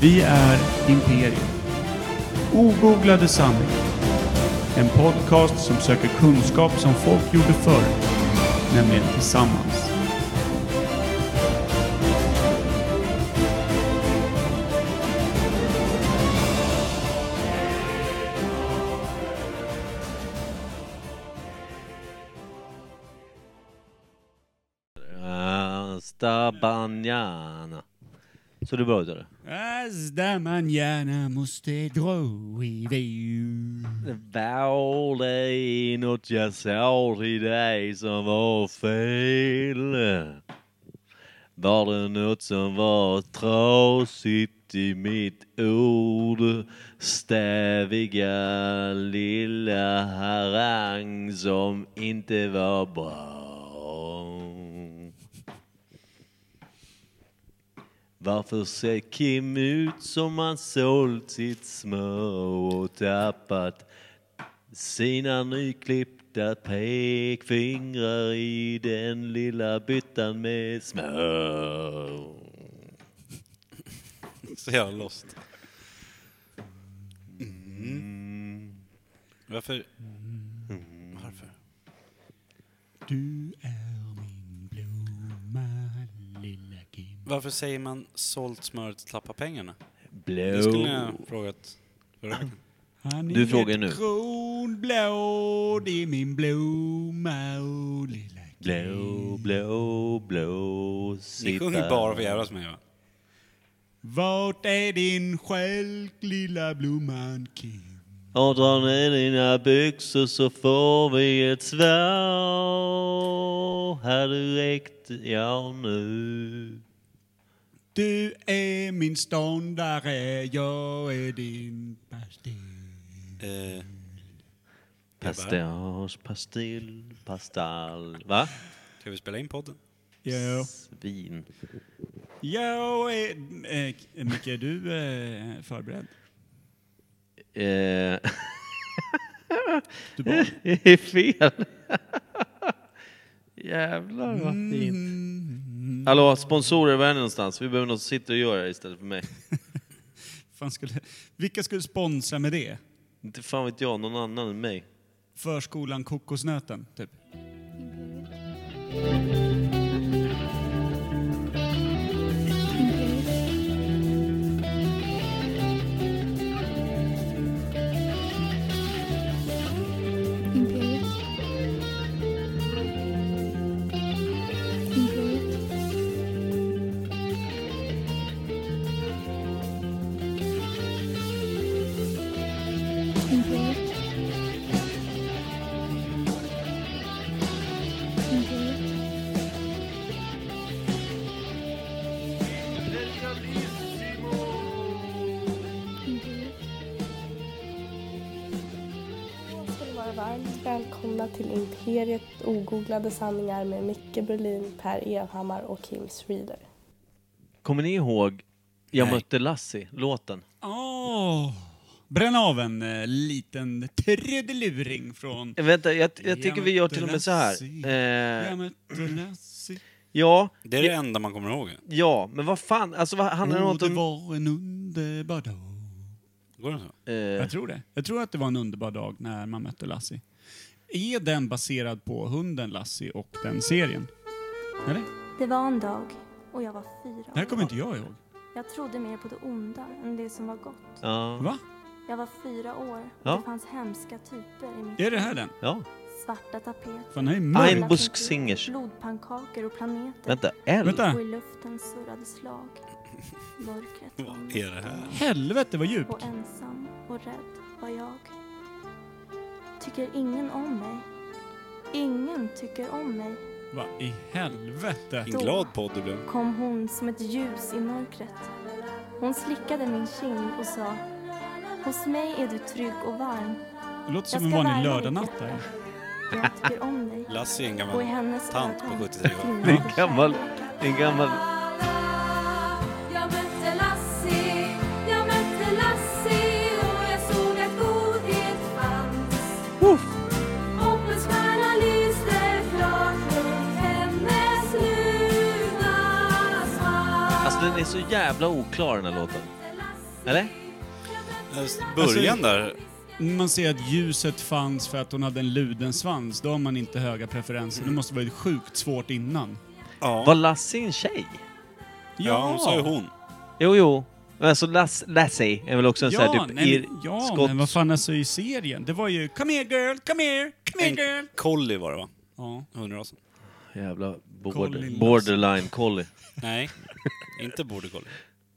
Vi är Imperium. Ogooglade sanningar. En podcast som söker kunskap som folk gjorde förr, nämligen tillsammans. Stabanjana. Så du bra ut eller? Hasta mañana måste dro iväg. Det var det något jag sa till dig som var fel? Var det något som var trasigt i mitt ord? Stäviga lilla harang som inte var bra. Varför ser Kim ut som han sålt sitt smör och tappat sina nyklippta pekfingrar i den lilla byttan med smör? Så jävla lost. Mm. Varför? Varför? Du är min blomma, lilla Kim. Varför säger man sålt smöret och tappa pengarna? Det skulle ni Blå. ha frågat förra veckan. Han Du är frågar ett nu. kronblad i min blomma, och lilla Kim. Blå, blå, blå Ni sjunger sitta. bara för att jävlas med mig va? Vart är din stjälk, lilla blomman Kim? Och dra ner dina byxor så får vi ett svärd. Hade räckt, ja nu. Du är min ståndare, jag är din pastill. Eh, Pastage, pastill, pastall. Va? ska vi spela in podden? Ja. Svin. Jag är... Eh, Micke, är du eh, förberedd? Eh, Du bara... det är fel. Jävlar vad fint. Mm. Hallå, sponsorer, var är ni någonstans? Vi behöver någon som sitter och gör det här istället för mig. Fan skulle, vilka skulle sponsra med det? Inte fan vet jag, någon annan än mig. Förskolan Kokosnöten, typ? Imperiet. Imperiet. Imperiet. Imperiet. Imperiet. Jag ska ni vara varmt välkomna till Imperiet ogooglade sanningar med Micke Berlin, Per Evhammar och Kim Reader. Kommer ni ihåg Jag Nej. mötte Lassie, låten? Åh! Bränn av en eh, liten trudeluring från... Eh, Vänta, jag, jag tycker vi gör till och med så här. Jag Eh, mötte Lassie. ja, Det är det enda man kommer ihåg. ja, men vad fan, alltså vad handlar det Och det om... att- var en underbar dag. Går det så? Eh, Jag tror det. Jag tror att det var en underbar dag när man mötte Lassie. Är den baserad på hunden Lassie och den serien? Eller? Det var en dag och jag var fyra Det här år. kommer inte jag ihåg. Jag trodde mer på det onda än det som var gott. ja, Va? Jag var fyra år. Ja. Det fanns hemska typer i mitt Är det här den? ja. svarta tapet. Fan, den är mörk. Alla Ein Busk tänkte- Singers. Blodpannkakor och planeter. Vänta, L? Vänta. Och i luften surrade slag. Mörkret var Vad är det här? Helvete vad djupt. Och ensam och rädd var jag. Tycker ingen om mig. Ingen tycker om mig. Vad i helvete? En glad podd det blev. kom hon som ett ljus i mörkret. Hon slickade min kind och sa Hos mig är du trygg och varm. Det låter som Jag en ska vanlig värma dig. lördagnatt där. Jag tycker om dig. Lassie är en Och i gammal... hennes Tant ögon på 73 år. glimmade Det är en gammal, kärlek. det är en gammal... Jag mötte Lassie, jag mötte Lassie och jag såg att godhet fanns. Hoppets stjärna lyste klart runt hennes luna svans. Alltså den är så jävla oklar den här låten. Jag mötte Eller? Äh, Början där. Man ser att ljuset fanns för att hon hade en luden svans. Då har man inte höga preferenser. Det måste varit sjukt svårt innan. Var Ja. Lassie en tjej? ja, hon sa ju hon. Jo, jo. Men alltså Lass, Lassie är väl också en sån här Ja, typ nej, ir, men- ja skott... men vad fan alltså i serien? Det var ju Come here girl, come here, come here girl. En collie var det va? Ja. Hundrasen. Jävla Colin border, Lassie. borderline collie. Nej, inte border collie.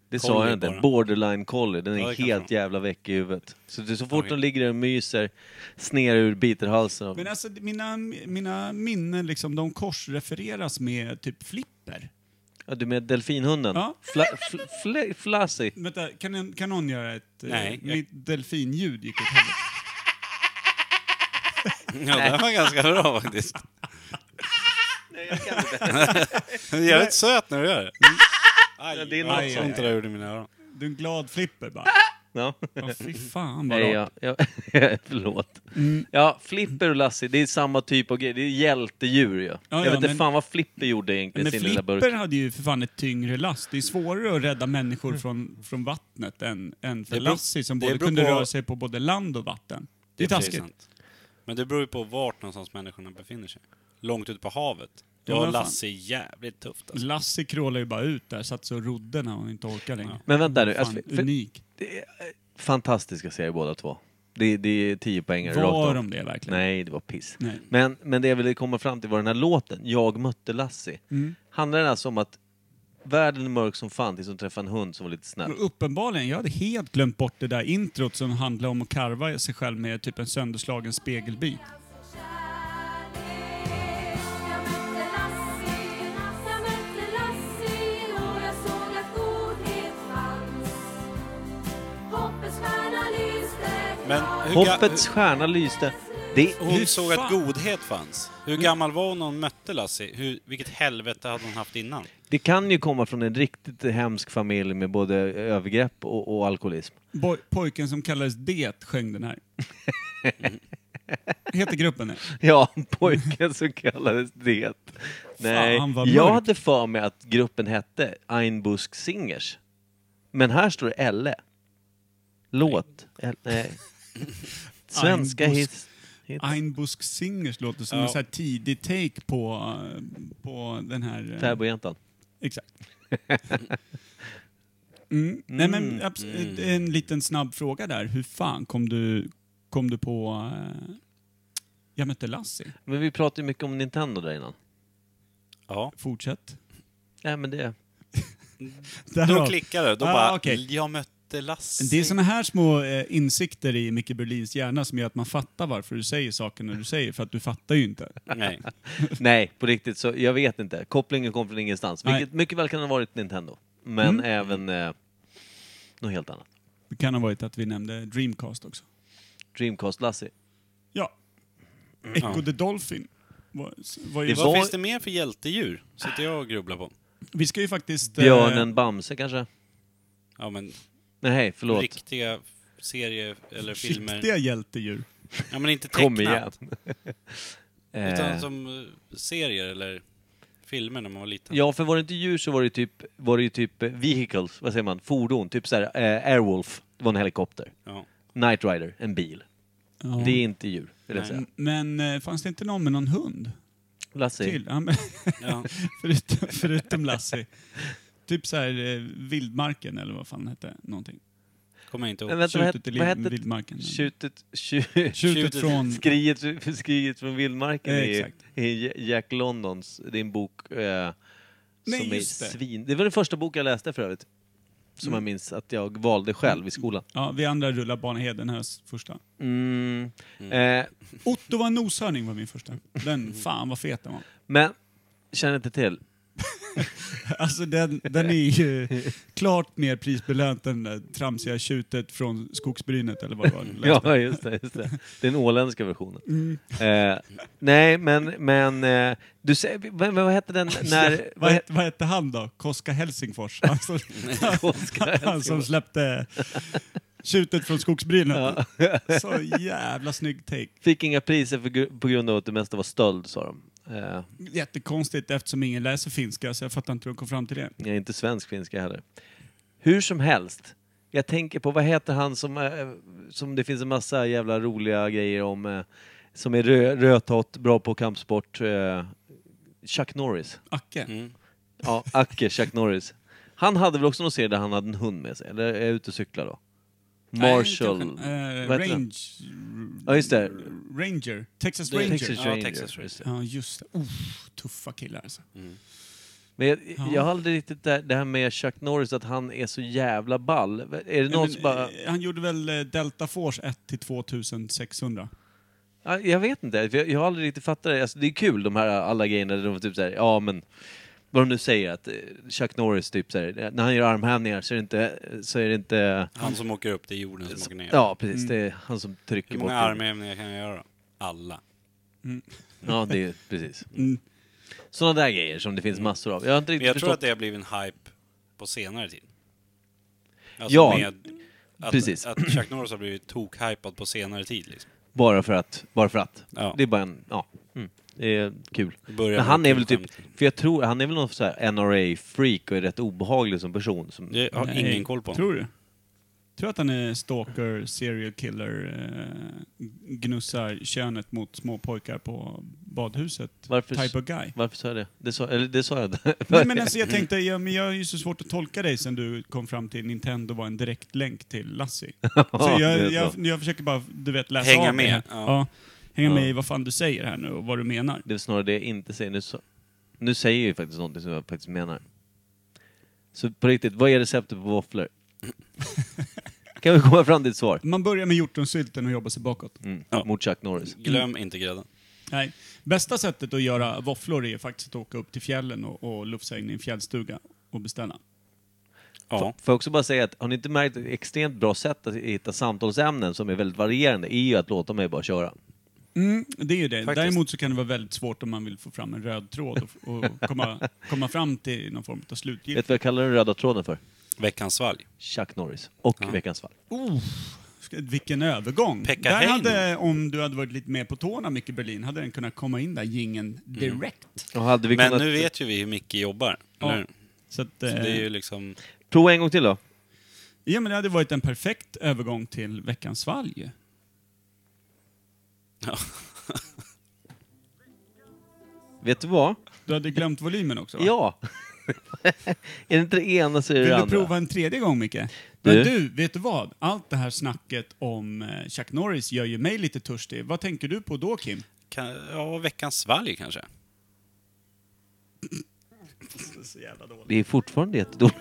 Det sa Collie jag inte. bara. Borderline collie. Den är Ja, det kan helt vara. jävla väck i huvudet. Så, det, så fort Okej. de ligger där och myser, snear ur, biter halsen av Men alltså mina, mina minnen liksom, de korsrefereras med typ flipper. ja, Du med delfinhunden? Ja. Fla, fl, fl, flashy. Vänta, kan, en- kan någon göra ett... Nej, eh, jag- Mitt delfinljud gick åt helvete. Ja, det var ganska bra faktiskt. Nej, jag kan inte. Det är jävligt söt när du gör det. Mm. Aj, Det är något aj, sånt. ont det där gjorde i mina öron. Du är en glad flipper bara. Ja. Ja, fy fan vad Nej, rart. ja, ja, förlåt. Mm. Ja, Flipper och Lassie, det är samma typ av grej. Det är hjältedjur ju. jag ja, vet inte men- fan vad Flipper gjorde egentligen Men i sin lilla flipper burk. hade ju för fan ett tyngre last. Det är svårare att rädda människor från, från vattnet än, än för Mm. Det beror- Lassie som det både beror kunde på- röra sig på både land och vatten. Det är precis taskigt. sant. Men det beror ju på vart någonstans människorna befinner sig. Långt ut på havet. Då Ja, har men fan. Lasse jävligt tufft alltså. Lassie krålade ju bara ut där, satt sig och rodde när hon inte orkade längre. Men vänta nu, Fan, alltså, för- unik. Det är fantastiska serier båda två. Det, det är tio poängare rakt Var av. de det verkligen? Nej, det var piss. Nej. Men, men det jag ville komma fram till var den här låten, Jag mötte Lassie. Mm. Handlar den alltså om att världen är mörk som fan tills hon träffar en hund som var lite snäll? Men uppenbarligen, jag hade helt glömt bort det där introt som handlar om att karva sig själv med typ en sönderslagen spegelbit. Jag mötte Lassie, jag mötte Lassie och jag såg att godhet fanns. Hoppets stjärna lyste Men hur ga- Hoppets stjärna lyste. Det, hur- Mm. hur Hon såg att fan? Mm. godhet fanns. Hur gammal var hon när hon mötte Lassie? Hur, vilket helvete hade hon haft innan? det kan ju komma från en riktigt hemsk familj med både övergrepp och, och alkoholism. Boy, pojken som kallades Det sjöng den här. Heter gruppen det? Ja, pojken som kallades det. Nej, Fan, vad jag mörkt. hade för mig att gruppen hette Einbusk Singers. Men här står det Elle. Låt. Elle, nej. Svenska Einbusk. hits. hits. Einbusk Singers låter som Ja. en så här tidig take på, eh, på den här... eh, Täbojäntan. Exakt. Mm. Nej men abs- eh, en liten snabb fråga där. Hur fan kom du, kom du på... eh, jag mötte Lassie. Men vi pratade ju mycket om Nintendo där innan. Ja. Fortsätt. Nej men det... Därav. Då klickade det. Då Ah, bara, okej. jag mötte Lassie. Det är såna här små eh, insikter i Micke Berlins hjärna som gör att man fattar varför du säger saker när du säger, för att du fattar ju inte. Nej. Nej, på riktigt så jag vet inte. Kopplingen kom från ingenstans. Nej. Vilket mycket väl kan ha varit Nintendo. Men även eh, något helt annat. Det kan ha varit att vi nämnde Dreamcast också. Dreamcast Lassie. Ja. Echo the Dolphin. Var, var ju, Det Vad var- finns det mer för hjältedjur? Sitter jag och grubblar på. vi ska ju faktiskt... eh, Björnen Bamse kanske? Ja men, Nej, förlåt. riktiga serier eller filmer. Riktiga hjältedjur. Ja men inte Kom tecknat. igen. Eh, Utan som eh, serier eller filmer när man var liten. Ja, för var det inte djur så var det ju typ, var det ju typ eh, vehicles, vad säger man, fordon, typ såhär eh, Airwolf, det var en helikopter. Ja. Knight Rider, en bil. Mm. Det är inte djur, vill jag säga. M- Men eh, fanns det inte någon med någon hund? Lassie. Till? Ja, men, Ja. förutom, förutom Lassie. Typ så här eh, vildmarken eller vad fan hette någonting. Kommer jag inte Men ihåg. vänta, vad hette, Tjutet i vad liv- hette vildmarken. tjutet, tju- Tjutet tjutet- från... skriet, skriet från vildmarken Eh, i, Mm. exakt. i Jack Londons, det är en bok eh, Nej, som är just det. Mm. svin... Det var den första boken jag läste för övrigt. Som jag minns att jag valde själv i skolan. Ja, vi andra rullar Barn Hedenhös första. Mm. Eh, Otto var en noshörning var min första. Den, fan vad fet den var. men, känner inte till. Alltså den, den är ju klart mer prisbelönt än det där tramsiga tjutet från skogsbrynet eller vad det var. du läste. Ja, just det, just det. Den åländska versionen. Mm. Eh, nej, men, men eh, du säger, vad, vad hette den när... vad, hette, vad hette han då? Koska Helsingfors? Han som, Koska han som släppte tjutet från skogsbrynet. Så jävla snygg take. Fick inga priser för, gru- på grund av att det mesta var stöld, sa de. Eh, Jättekonstigt eftersom ingen läser finska så jag fattar inte hur de kom fram till det. jag är inte svensk finska heller. Hur som helst, Jag tänker på, vad heter han som, eh, som det finns en massa jävla roliga grejer om, eh, som är rö, rödtott, bra på kampsport. Eh, Chuck Norris. Acke. Mm. Ja, Acke Chuck Norris. Han hade väl också någon serie där han hade en hund med sig, eller är jag ute och cyklar då? Nej, Marshall... kanske- eh, vad heter den? range... Ja, just det. Ranger. Texas Det- Ranger. Texas Ja, Ranger. Texas Ranger. just det. Ja, just det. Uff, tuffa killar alltså. Men jag, jag har aldrig riktigt det, det här med Chuck Norris, att han är så jävla ball. Är det någon som Men, bara... eh, Han gjorde väl eh, Delta Force 1 till 2600? Ja, Jag vet inte, för jag, jag har aldrig riktigt fattat det. Alltså, det är kul de här alla grejerna där de typ såhär, ja men vad de nu säger att eh, Chuck Norris typ såhär, när han gör armhävningar så är det inte, så är det inte Han som åker upp, det är jorden som åker ner. Mm. Ja precis, det är han som trycker Hur bort många den. armhävningar kan jag göra? Alla. Ja, det är precis. Mm. Sådana där grejer som det finns massor av. Jag har inte Mm. Men riktigt jag förstått. tror att det har blivit en hype på senare tid. Alltså Ja, med att, precis. att Chuck Norris har blivit tokhypad på senare tid. Liksom. Bara för att, bara för att. Ja. Det är bara en, ja. Mm. Det är kul. Det börjar Men med han är kul väl typ, skämt. för jag tror, han är väl någon så här NRA-freak och är rätt obehaglig som person. Som, Jag har Nej, ingen koll på honom. Tror du? Tror att han är stalker, serial killer, eh, gnussar könet mot små pojkar på badhuset? Varför- Type of guy. Varför sa jag det? Det sa, eller det sa jag inte. Nej, men alltså, jag tänkte, ja, men jag är ju så svårt att tolka dig sen du kom fram till Nintendo var en direktlänk till Lassie. Så det är Alltså, jag, så. jag, jag försöker bara, du vet, läsa Hänga av det med, här. ja. Ja, hänga Ja. med i vad fan du säger här nu och vad du menar. Det är snarare det jag inte säger. Nu, sa- nu säger jag ju faktiskt någonting som jag faktiskt menar. Så på riktigt, vad är receptet på våfflor? kan vi komma fram till ett svar? Man börjar med hjortronsylten och jobbar sig bakåt. Mm. Mot Chuck Norris. Glöm inte grädden. Nej. Bästa sättet att göra våfflor är faktiskt att åka upp till fjällen och, och lufsa in i en fjällstuga och beställa. Ja. Får jag också bara säga att, har ni inte märkt ett extremt bra sätt att hitta samtalsämnen som är väldigt varierande, är ju att låta mig bara köra. Mm, det är ju det. Faktiskt. Däremot så kan det vara väldigt svårt om man vill få fram en röd tråd och, och komma, komma fram till någon form av Vet slutgiltigt. du vad jag kallar den röda tråden för? Veckans svalg. Chuck Norris. Och Veckans fall. Oh, Vilken övergång! Pekka där Heino. hade, om du hade varit lite mer på tårna, Micke Berlin, hade den kunnat komma in där Mm. gingen direkt. Och hade vi Men kunnat... nu vet ju vi hur Micke jobbar. Ja. Eller hur? Så att, Så det är eh, ju liksom... Prova en gång till då. ja, men det hade varit en perfekt övergång till veckans svalg. Ja. Vet du vad? Du hade glömt volymen också va? Ja! är det inte det ena så är det Vill det du andra. prova en tredje gång, Micke? Men Du? du, vet du vad? Allt det här snacket om eh, Chuck Norris gör ju mig lite törstig. Vad tänker du på då, Kim? Kan, ja, veckans svalg kanske. Det är fortfarande jättedåligt.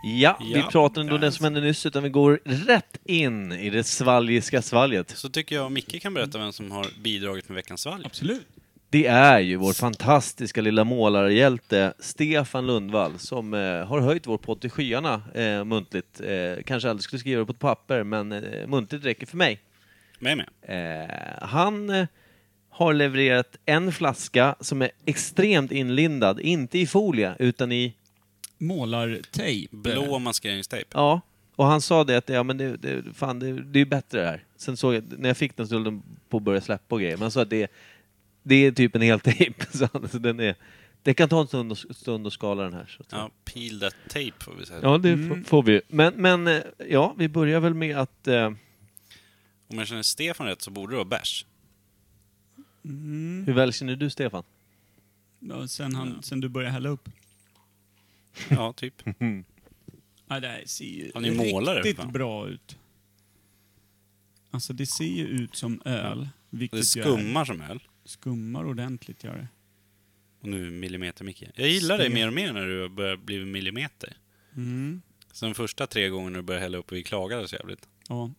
Ja, vi Ja, pratar inte om det som hände nyss utan vi går rätt in i det svalgiska svalget. Så tycker jag Micke kan berätta vem som har bidragit med veckans svalg. Absolut. Det är ju vår fantastiska lilla målarhjälte Stefan Lundvall som eh, har höjt vår podd till skyarna eh, muntligt. Eh, kanske aldrig skulle skriva det på ett papper men eh, muntligt räcker för mig. Med med. Eh, han eh, har levererat en flaska som är extremt inlindad, inte i folie utan i Målartejp. Blå maskeringstejp. Ja, och han sa det att ja, men det, det, fan, det, det är ju bättre det här. Sen såg jag, när jag fick den så höll den på att börja släppa och grejer. Men han sa att det, det är typ en hel tejp. Så han- så den är, det kan ta en stund, att- stund att skala den här. Så att, Ja, peel that tape får vi säga. ja, det f- får vi ju. Men, men eh, ja, vi börjar väl med att... Eh, Om jag känner Stefan rätt så borde det vara bärs. hur väl känner du Stefan? Ja, Sen, han, sen du började hälla upp. Ja, typ. Ja, det här ser ju Ja, ni målar det, riktigt fan. bra ut. Alltså det ser ju ut som öl. Vilket Det ju är- skummar som öl. skummar ordentligt gör det. Och nu millimeter Micke. Jag gillar dig mer och mer när du börjar bli millimeter. Mm. Så de första tre gångerna du började hälla upp och vi klagade så jävligt. Ja.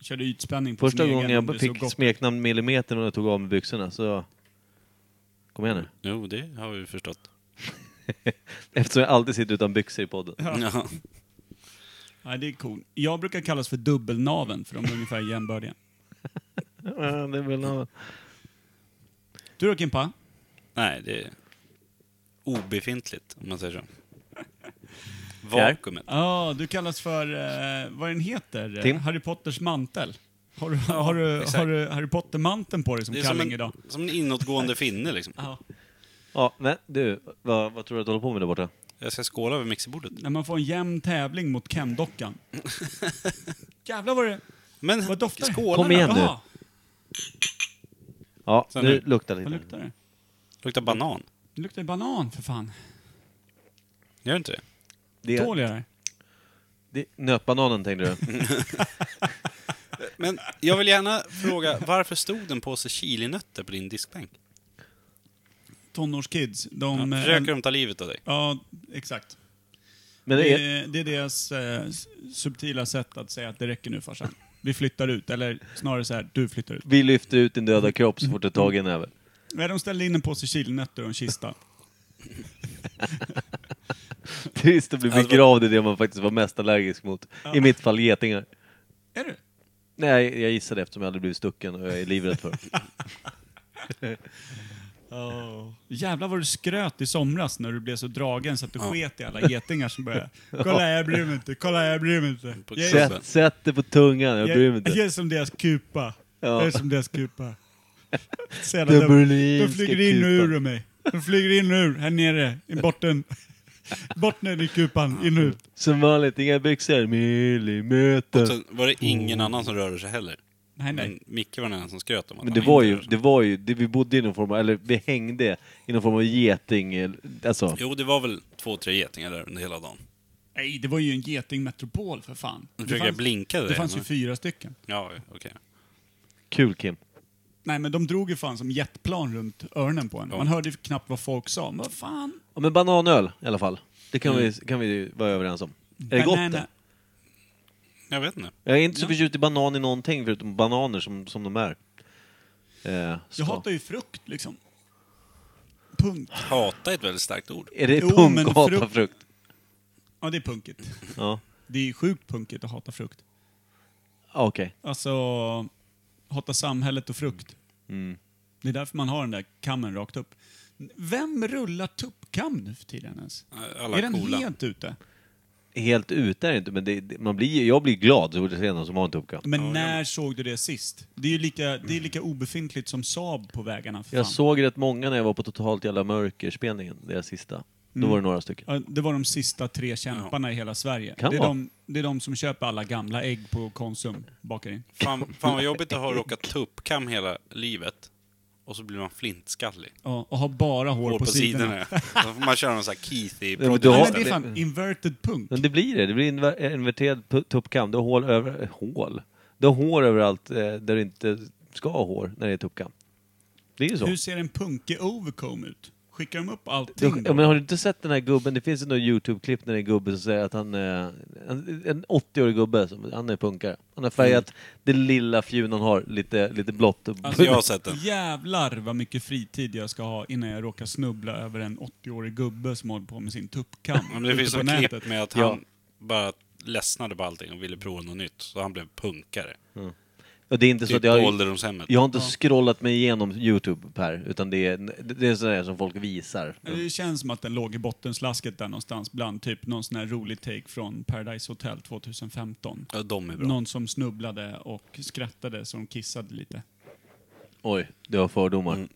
Körde ytspänning på Första smegen, gången det jag såg fick gott smeknamn Millimeter och jag tog av mig byxorna så... Kom igen nu. Jo, det har vi förstått. Eftersom jag alltid sitter utan byxor i podden. Ja. Ja, det är cool. Jag brukar kallas för dubbelnaven för de är ungefär jämbördiga. Ja, det är väl något. Du då Kimpa? Nej, det är obefintligt om man säger så. Pierre? Vakuumet. Ja, du kallas för, eh, vad den heter? Tim? Harry Potters mantel. Har du, har du, exakt. har du Harry Potter-manteln på dig som Det är som kalling en, idag? som en inåtgående finne liksom. Ja. Ja, men du, vad, vad tror du att du håller på med där borta? Jag ska skåla över mixerbordet. När man får en jämn tävling mot Ken-dockan. Jävlar vad det... Men Vad doftar det? skålarna! Kom igen. nu. Jaha, Ja, Sen nu nu. luktar lite. vad luktar det? Luktar banan. Det luktar ju banan för fan. Gör det inte det? det, Tål jag det? det, nötbananen tänkte du? Men jag vill gärna fråga, varför stod den på sig chilinötter på din diskbänk? Tonårskids, de... eh, Försöker de ta livet av dig? ja, exakt. Men Det det är, är, det är deras eh, s- subtila sätt att säga att det räcker nu farsan. Vi flyttar ut, eller snarare så här, du flyttar ut. vi lyfter ut din döda kropp så fort du tagit en över. Nej, de ställde in en påse chilinötter och en kista. Trist att bli Alltså- begravd i det man faktiskt var mest allergisk mot. I mitt fall getingar. Är du? Nej, jag gissade eftersom jag aldrig blivit stucken och jag är livrädd för. Oh. Jävlar vad du skröt i somras när du blev så dragen så att du sket i alla getingar som började. Kolla jag bryr mig inte, kolla jag bryr mig inte. På Jag, är- kroppen. Sätt, sätt det på tungan, jag jag, bryr mig inte. jag är som deras kupa. Ja. Jag är som deras kupa. Så jävla Den dum. de berlinska flyger in och kupan. ur ur mig. De flyger in och ur, här nere, i botten. Botten i kupan, in och ut. Som vanligt, inga byxor. Millimeter. Sen var det ingen annan som rörde sig heller. Oh. Nej, nej. Men Micke var den enda som skröt om att Men han det var inte ju, rörde sig. det var ju, det, vi bodde i någon form av, eller vi hängde i någon form av geting, eh, alltså. Jo, det var väl två, tre getingar där under hela dagen. Nej, det var ju en getingmetropol för fan. Nu Det försöker jag fanns, blinka där. det fanns ju men- fyra stycken. Ja, okej. Kul Kim. Nej men de drog ju fan som jetplan runt öronen på en. Ja. Man hörde ju knappt vad folk sa. Men vad fan? Ja, men bananöl i alla fall. Det kan, vi, kan vi ju vara överens om. Är det gott det? Jag vet inte. Jag är inte så förtjust i banan i någonting förutom bananer som, som de är. Eh, ska. Jag hatar ju frukt liksom. Punk. Hata är ett väldigt starkt ord. Är det Jo, punk men att hata frukt- frukt? Ja det är punkigt. Ja, Det är sjukt punkigt att hata frukt. ah, okej. Alltså, hata samhället och frukt. Det är därför man har den där kammen rakt upp. Vem rullar tuppkam nu för tiden ens? Alla är den coola. helt ute? Helt ute är det inte, men det, det, man blir, ju- jag blir glad så fort jag ser någon som har en tuppkam. Men när såg du det sist? Det är ju lika, det är lika obefintligt som Saab på vägarna för Jag fan. såg rätt många när jag var på Totalt Jävla Mörker-spelningen, deras sista. Då Mm. var det några stycken. Ja, Det var de sista tre kämparna i hela Sverige. Kan det, är vara. de, det är de som köper alla gamla ägg på Konsum, bakar in. Fan, fan vad jobbigt att ha råkat tuppkam hela livet. Och så blir man flintskallig. Ja, och har bara hår, Hår på sidorna. Då får man köra någon sån här keithy men du Nej, har- men det är fan inverted punk. Men det blir det, det blir inver- inverterad pu- tuppkam. Du har hål över... Hål? Du har hår överallt eh, där du inte ska ha hår när det är tuppkam. Det är ju så. Hur ser en punkig overcome ut? Skickar de upp Du, allting ja, då? men har du inte sett den här gubben? Det finns ju något YouTube-klipp när det är en gubbe som säger att han är en, en 80-årig gubbe, som, han är punkare. Han har färgat det lilla fjun han har lite, lite blått. Mm. Alltså jag har sett den. Jävlar vad mycket fritid jag ska ha innan jag råkar snubbla över en 80-årig gubbe som håller på med sin tuppkam. Ja, Men det ute finns på en nätet. klipp med att han Ja. bara ledsnade på allting och ville prova något nytt. Så han blev punkare. Och det är inte så Typ att på jag, har- ålderdomshemmet. jag har inte scrollat mig igenom YouTube, Per, utan det är, det är sådär som folk visar. Det känns som att den låg i bottenslasket där någonstans bland typ någon sån här rolig take från Paradise Hotel 2015. Ja, de är bra. Någon som snubblade och skrattade så de kissade lite. Oj, du har fördomar.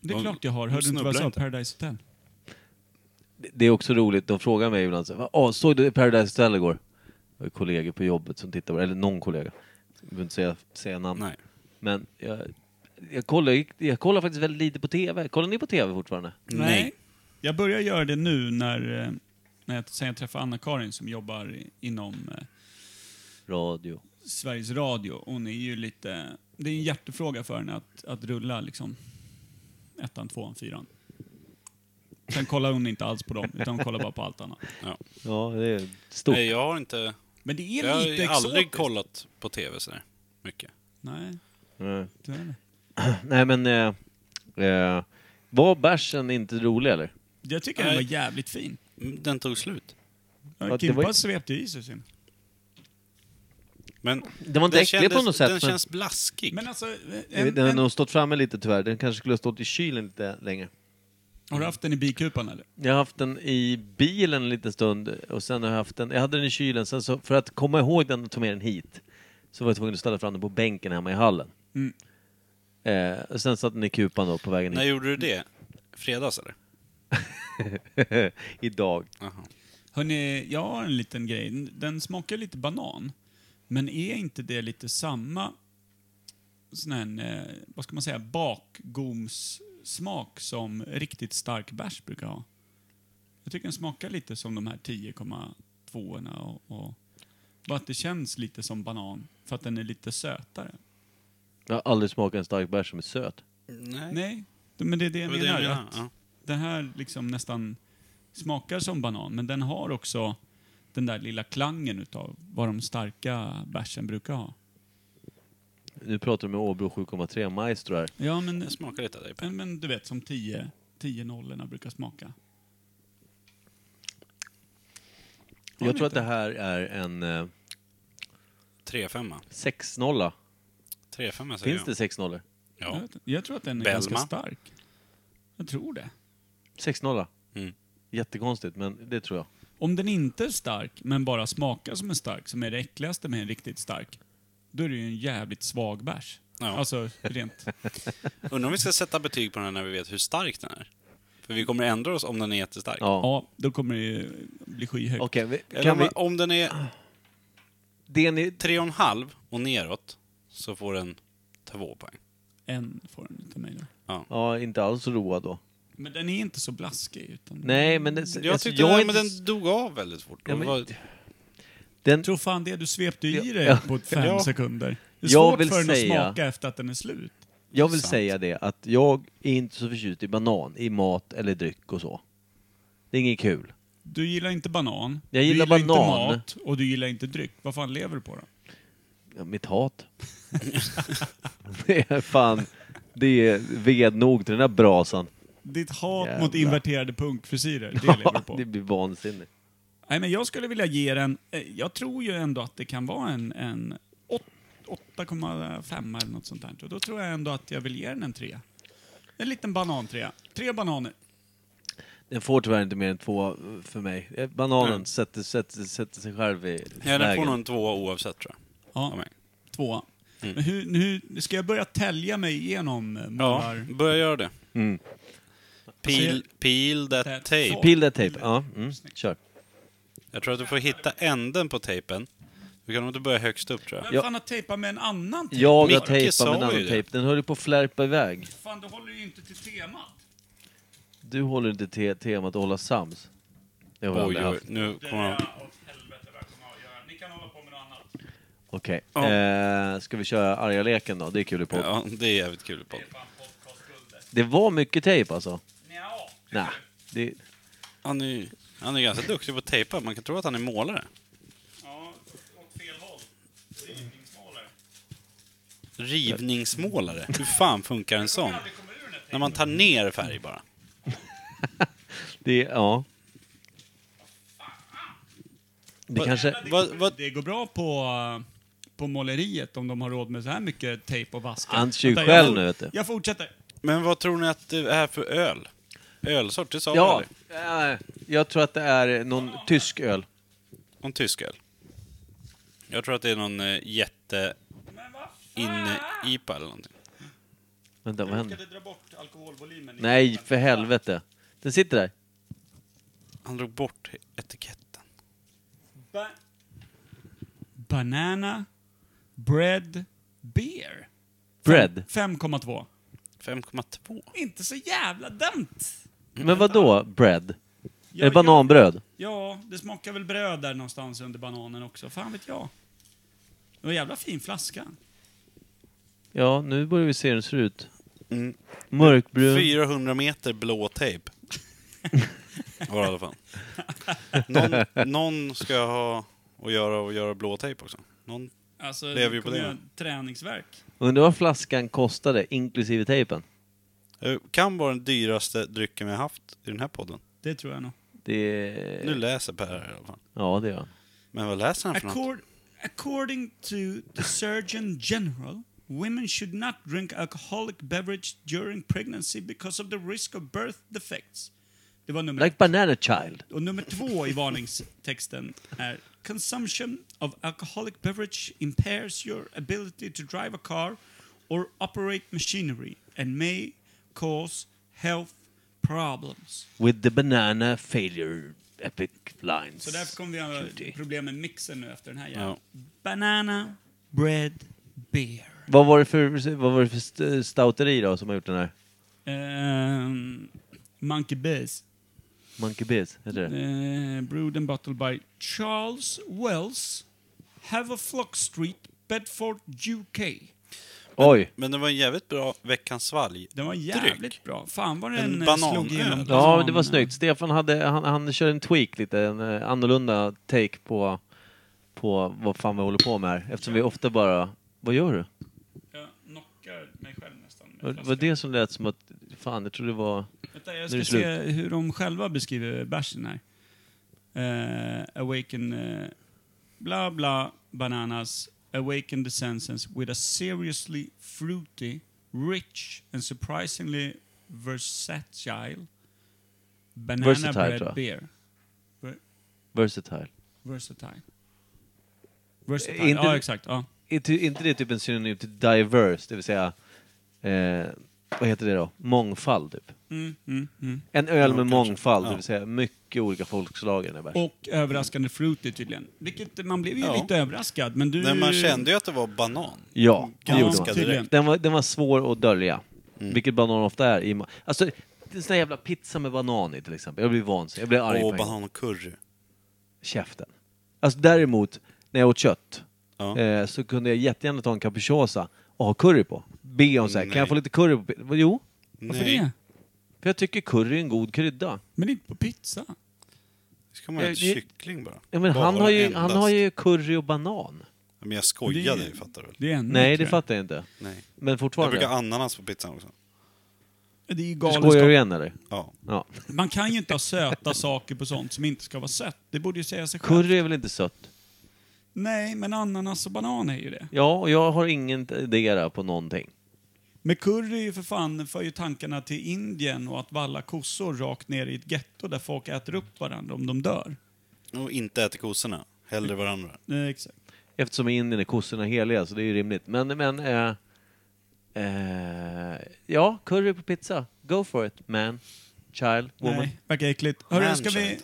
Det är De- klart jag har. de Hörde du inte vad jag sa? snubblar inte. Paradise Hotel? Det- Det är också roligt, de frågar mig ibland så här, "Ah, såg du Paradise Hotel igår? Jag har kollegor på jobbet som tittar på det, eller någon kollega. Jag behöver inte säga, säga namn. Nej. Men jag, jag, kollar, jag kollar faktiskt väldigt lite på TV. Kollar ni på TV fortfarande? Nej. Jag börjar göra det nu när, eh, när jag, sen jag träffade Anna-Karin som jobbar i- inom eh, Radio. Sveriges Radio. Hon är ju lite... Det är en hjärtefråga för henne att, att rulla liksom ettan, tvåan, fyran. Sen kollar hon inte alls på dem, utan hon kollar bara på allt annat. Ja. Ja, det är stort. Nej, jag har inte... Men det är Jag har lite ju aldrig exotiskt. kollat på TV sådär mycket. Nej, Nej. tyvärr. Mm. Nej men... Eh, eh, var bärsen inte rolig eller? Jag tycker den Nej. var jävligt fin. Mm, Den tog slut. Ja, det var Kimpa ju- svepte i sig sin. Men Den var inte den äcklig kändes- på något sätt. Den Men känns blaskig. Men alltså, eh, en, Den har en, nog stått framme lite tyvärr. Den kanske skulle ha stått i kylen lite längre. har du haft den i bikupan eller? Jag har haft den i bilen en liten stund och sen har jag haft den, jag hade den i kylen, sen så, för att komma ihåg den tog jag med den hit. så var jag tvungen att ställa fram den på bänken hemma i hallen. Mm. Eh, och sen satt den i kupan då på vägen När hit. gjorde du det? Fredags eller? Idag. Aha. Hörrni, jag har en liten grej. Den smakar lite banan. Men är inte det lite samma sån här, eh, vad ska man säga, bakgomssmak som riktigt stark bärs brukar ha? Jag tycker den smakar lite som de här 10,2orna och, och bara att det känns lite som banan för att den är lite sötare. Jag har aldrig smakat en stark bärs som är söt. Nej. Nej, men det är det Det jag var det menar. jag menade, att ja. Den här liksom nästan smakar som banan, men den har också den där lilla klangen utav vad de starka bärsen brukar ha. Nu pratar du med Åbro 7,3 maestro här. Ja, men, Jag smakar lite av dig Per. men, men du vet som 10 10 nollorna brukar smaka. Jag tror att det här är en eh, 3-5. 6-0. 3-5 säger Finns det 6-0? jag. Jag, Ja. vet inte. jag tror att den är Bellman. ganska stark. Jag tror det. 6-0. Mm. Jättekonstigt, men det tror jag. Om den inte är stark, men bara smakar som en stark, som är det äckligaste med en riktigt stark, då är det ju en jävligt svag bärs. Ja. Alltså, rent... Undrar om vi ska sätta betyg på den här när vi vet hur stark den är. För vi kommer ändra oss om den är jättestark. Ja. ja, då kommer det ju bli skyhögt. Okej, vi- Eller kan om, vi... om den är Det ni... 3,5 och neråt så får den 2 poäng. En får den utav mig då. Ja, inte alls road då. Men den är inte så blaskig. Utan Nej, men... Det, Jag alltså, tyckte jag är den, men den dog av väldigt fort. Ja, men- Det var- den... Jag tror fan det, du svepte i Ja. dig Ja. på fem Ja. sekunder. Det är Jag svårt vill för den att säga- smaka efter att den är slut. Jag vill Sant. säga det att jag är inte så förtjust i banan i mat eller dryck och så. Det är inget kul. Du gillar inte banan, Jag gillar du gillar banan. inte mat och du gillar inte dryck. Vad fan lever du på då? Ja, Mitt hat. det är fan... Det är ved nog till den där brasan. Ditt hat Jävlar. mot inverterade punkfrisyrer, det lever du på. det blir vansinnigt. Nej, men jag skulle vilja ge den... eh, Jag tror ju ändå att det kan vara en, en åt- 8,5 eller något sånt där. Och då tror jag ändå att jag vill ge den en trea. En liten banantrea. Tre bananer. Den får tyvärr inte mer än två för mig. Eh, Bananen sätter, sätter, sätter sig själv i Ja, den får vägen. nog en 2 oavsett tror jag. Ja. Av mig. Tvåa. Mm. Men hur, hur, ska jag börja tälja mig igenom eh, Ja, målar... börja göra det. Mm. Alltså, Peel, peel that That tape. Peel that tape. Ja, mm. kör. Jag tror att du får hitta änden på tejpen. Du kan nog inte börja högst upp tror jag. Vem Ja. fan har tejpat med en annan tejp? Jag har Micke tejpat sa med en ju annan det. tejp. Den höll ju på att flärpa iväg. Fan, du håller ju inte till temat. Du håller inte te temat att hålla sams. Det har jag aldrig Oj, oj, haft. nu Det kommer han. åt helvete välkomna att göra. Ni kan hålla på med något annat. Okej. Ja. Eh, ska vi köra arga leken då? Det är kul i podd. Ja, det är jävligt kul på. Fan, podcastguldet. Det var mycket tejp alltså. Nja. Nej. Det... Han är, ju- han är ganska duktig på att tejpa. Man kan tro att han är målare. Ja, åt fel håll. Rivningsmålare. Rivningsmålare. Hur fan funkar en sån? Det kommer ur den här När man tar ner färg bara. det, ja. Det kanske... Vad, vad, Det går bra på, eh, på måleriet om de har råd med så här mycket tejp och vaskar. Han tjuv Vänta, jag själv for- nu, vet du. Jag fortsätter. men vad tror ni att det är för öl? Ölsort? Det sa vi Ja, aldrig. eh, jag tror att det är någon tysk öl. Någon tysk öl. Jag tror att det är någon eh, jätte... In-IPA eller någonting. Vänta, vad händer? dra bort alkoholvolymen. Nej, för helvete. Den sitter där. Han drog bort etiketten. Ba- Banana, bread, beer. Bread. 5,2. 5,2. Inte så jävla dumt. Men vad då bread? Ja, är det bananbröd? Ja, det smakar väl bröd där någonstans under bananen också. Fan vet jag. Det var en jävla fin flaska. Ja, nu börjar vi se hur den ser ut. Mm. Mörkbrun. 400 meter blå tejp. Var det i alla fall. Någon, någon ska ha att göra och göra blå tejp också. Någon, Alltså, Lever ju på kommer det. göra ett Träningsverk. Undrar vad flaskan kostade, inklusive tejpen. Eh, kan vara den dyraste drycken vi har haft i den här podden. Det tror jag nog. Det... Eh. Nu läser Per här i alla fall. Ja, det gör han. Men vad läser han för något? Accord, according to the Surgeon General, women should not drink alcoholic beverage during pregnancy because of the risk of birth defects. Det var nummer Like Banana Child. Och nummer två i varningstexten är Consumption of alcoholic beverage impairs your ability to drive a car or operate machinery and may cause health problems. With the banana failure epic lines. Så därför kommer vi Cutie. ha problem med mixen nu efter den här Ja. jäveln. Banana, bread, beer. Vad var det för, vad var det för st- stouteri då som har gjort den här? Ehm, monkey Base. Monkey Biz, heter det? Uh, brewed and bottled by Charles Wells, Haverflock Street, Bedford, UK. Oj! Men det var en jävligt bra veckans svalg. Den var jävligt Dryck. bra. Fan vad En den eh, Alltså, bananöl. slog igenom. Ja, banan- det var snyggt. Stefan hade, han, han körde en tweak lite, en eh, annorlunda take på, på vad fan vi håller på med här. Eftersom vi ofta bara, vad gör du? Jag knockar mig själv nästan. med Var, var flaskan. det som lät som att, fan jag trodde det var... Vänta, jag Nu är ska det se hur de själva beskriver bärsen här. Eh, awaken... eh, bla, bla, bananas. Awaken the senses with a seriously fruity, rich and surprisingly versatile banana Versatile, tror bread jag. beer. Versatile. Versatile. Versatile, Är inte- ja exakt. Ja. Inte, inte det typ en synonym till diverse, det vill säga, eh, vad heter det då? Mångfald typ. Mm, mm, mm. En öl med kanske. mångfald, det Ja. vill säga mycket olika folkslag i den här bärsen. Och överraskande fruity tydligen. Vilket, man blev ju Ja. lite överraskad, men du... Men man kände ju att det var banan. Ja, det Ja, gjorde man. ganska typ- Mm. tydligen. Den var, den var svår att dölja. Vilket banan ofta är. I ma- alltså, det är en sån här jävla pizza med banan i till exempel. Jag blir vansinnig. Jag blir arg Och på en gång. banan och curry. Käften. Alltså däremot, när jag åt kött, Ja. eh, så kunde jag jättegärna ta en capricciosa och ha curry på. Be om så här, kan Nej. jag få lite curry på pi-?" Vad- Jo, Varför Nej, det? för jag tycker curry är en god krydda. Men inte på pizza. ska man ha Eh, ett det- kyckling bara? Ja, men Bara han, har ju, han endast. har ju curry och banan. Ja, Men jag skojade Det- ju, fattar du väl? Det är ännu Nej, bättre. det fattar jag inte. Nej. Men Jag fortfarande. brukar ananas på pizzan också. Det är ju Du skojar du galenskap. igen eller? Ja. Ja. Man kan ju inte ha söta saker på sånt som inte ska vara sött. Det borde ju säga sig själv. Curry är väl inte sött? Nej, men ananas och banan är ju det. Ja, och jag har ingen idé på någonting. Men curry är ju för fan för ju tankarna till Indien och att valla kossor rakt ner i ett getto där folk äter upp varandra om de dör. Och inte äter kossorna. Hellre varandra. Eh, exakt. Eftersom i Indien är kossorna heliga så det är ju rimligt. Men, men... Eh, eh, ja, curry på pizza. Go for it, man. Child, woman. Nej, verkar äckligt. Hörru, Man ska vi... child.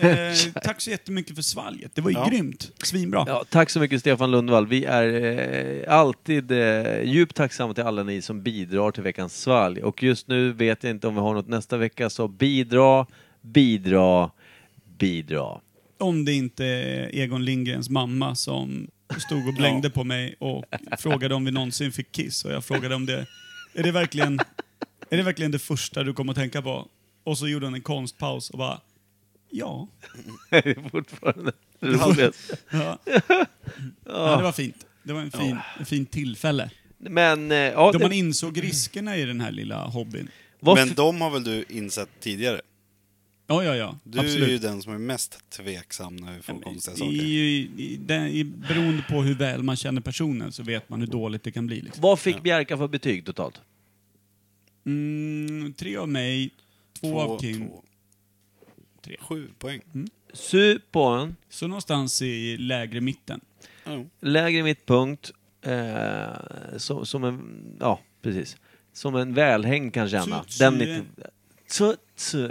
Eh, tack så jättemycket för svalget. Det var ju Ja. grymt. Svinbra. Ja, tack så mycket Stefan Lundvall. Vi är eh, alltid eh, djupt tacksamma till alla ni som bidrar till veckans svalg. Och just nu vet jag inte om vi har något nästa vecka, så bidra, bidra, bidra. Om det inte är Egon Lindgrens mamma som stod och blängde på mig och frågade om vi någonsin fick kiss. Och jag frågade om det... Är det verkligen, är det, verkligen det första du kom att tänka på? Och så gjorde hon en konstpaus och bara... Ja. Det är fortfarande det roligaste. ja. ja det var fint. Det var en fin, en fin tillfälle. Men, eh, ja, Då man det, insåg riskerna i den här lilla hobbyn. vad Men f- de har väl du insett tidigare? Ja, ja, ja. Du är ju Absolut. den som är mest tveksam när vi får konstiga I, saker. i, i, den, i, beroende på hur väl man känner personen så vet man hur dåligt det kan bli. Liksom. vad fick Bjärka för betyg totalt? Mm, tre av mig, två, av Kim. två. Tre. Mm. Sju poäng. Supon, Så någonstans i lägre mitten. Ja. lägre mittpunkt, eh, som, som en, ja precis, som en välhängd kan känna. Tsu, tsu. Den mitten. Tsu, tsu.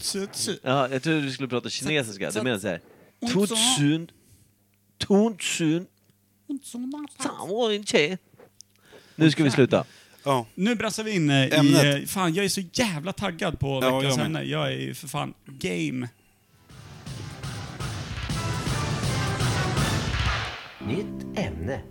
Tsu, tsu. Ja, jag trodde du skulle prata kinesiska, du menar såhär. Och så- Tutsun, tutsun, tawoinche. Nu ska vi sluta. Ja. Nu brassar vi in eh, i... Ämnet. eh, Fan, jag är så jävla taggad på Ja, veckans jag med. ämne. Jag är ju för fan game. Nytt ämne.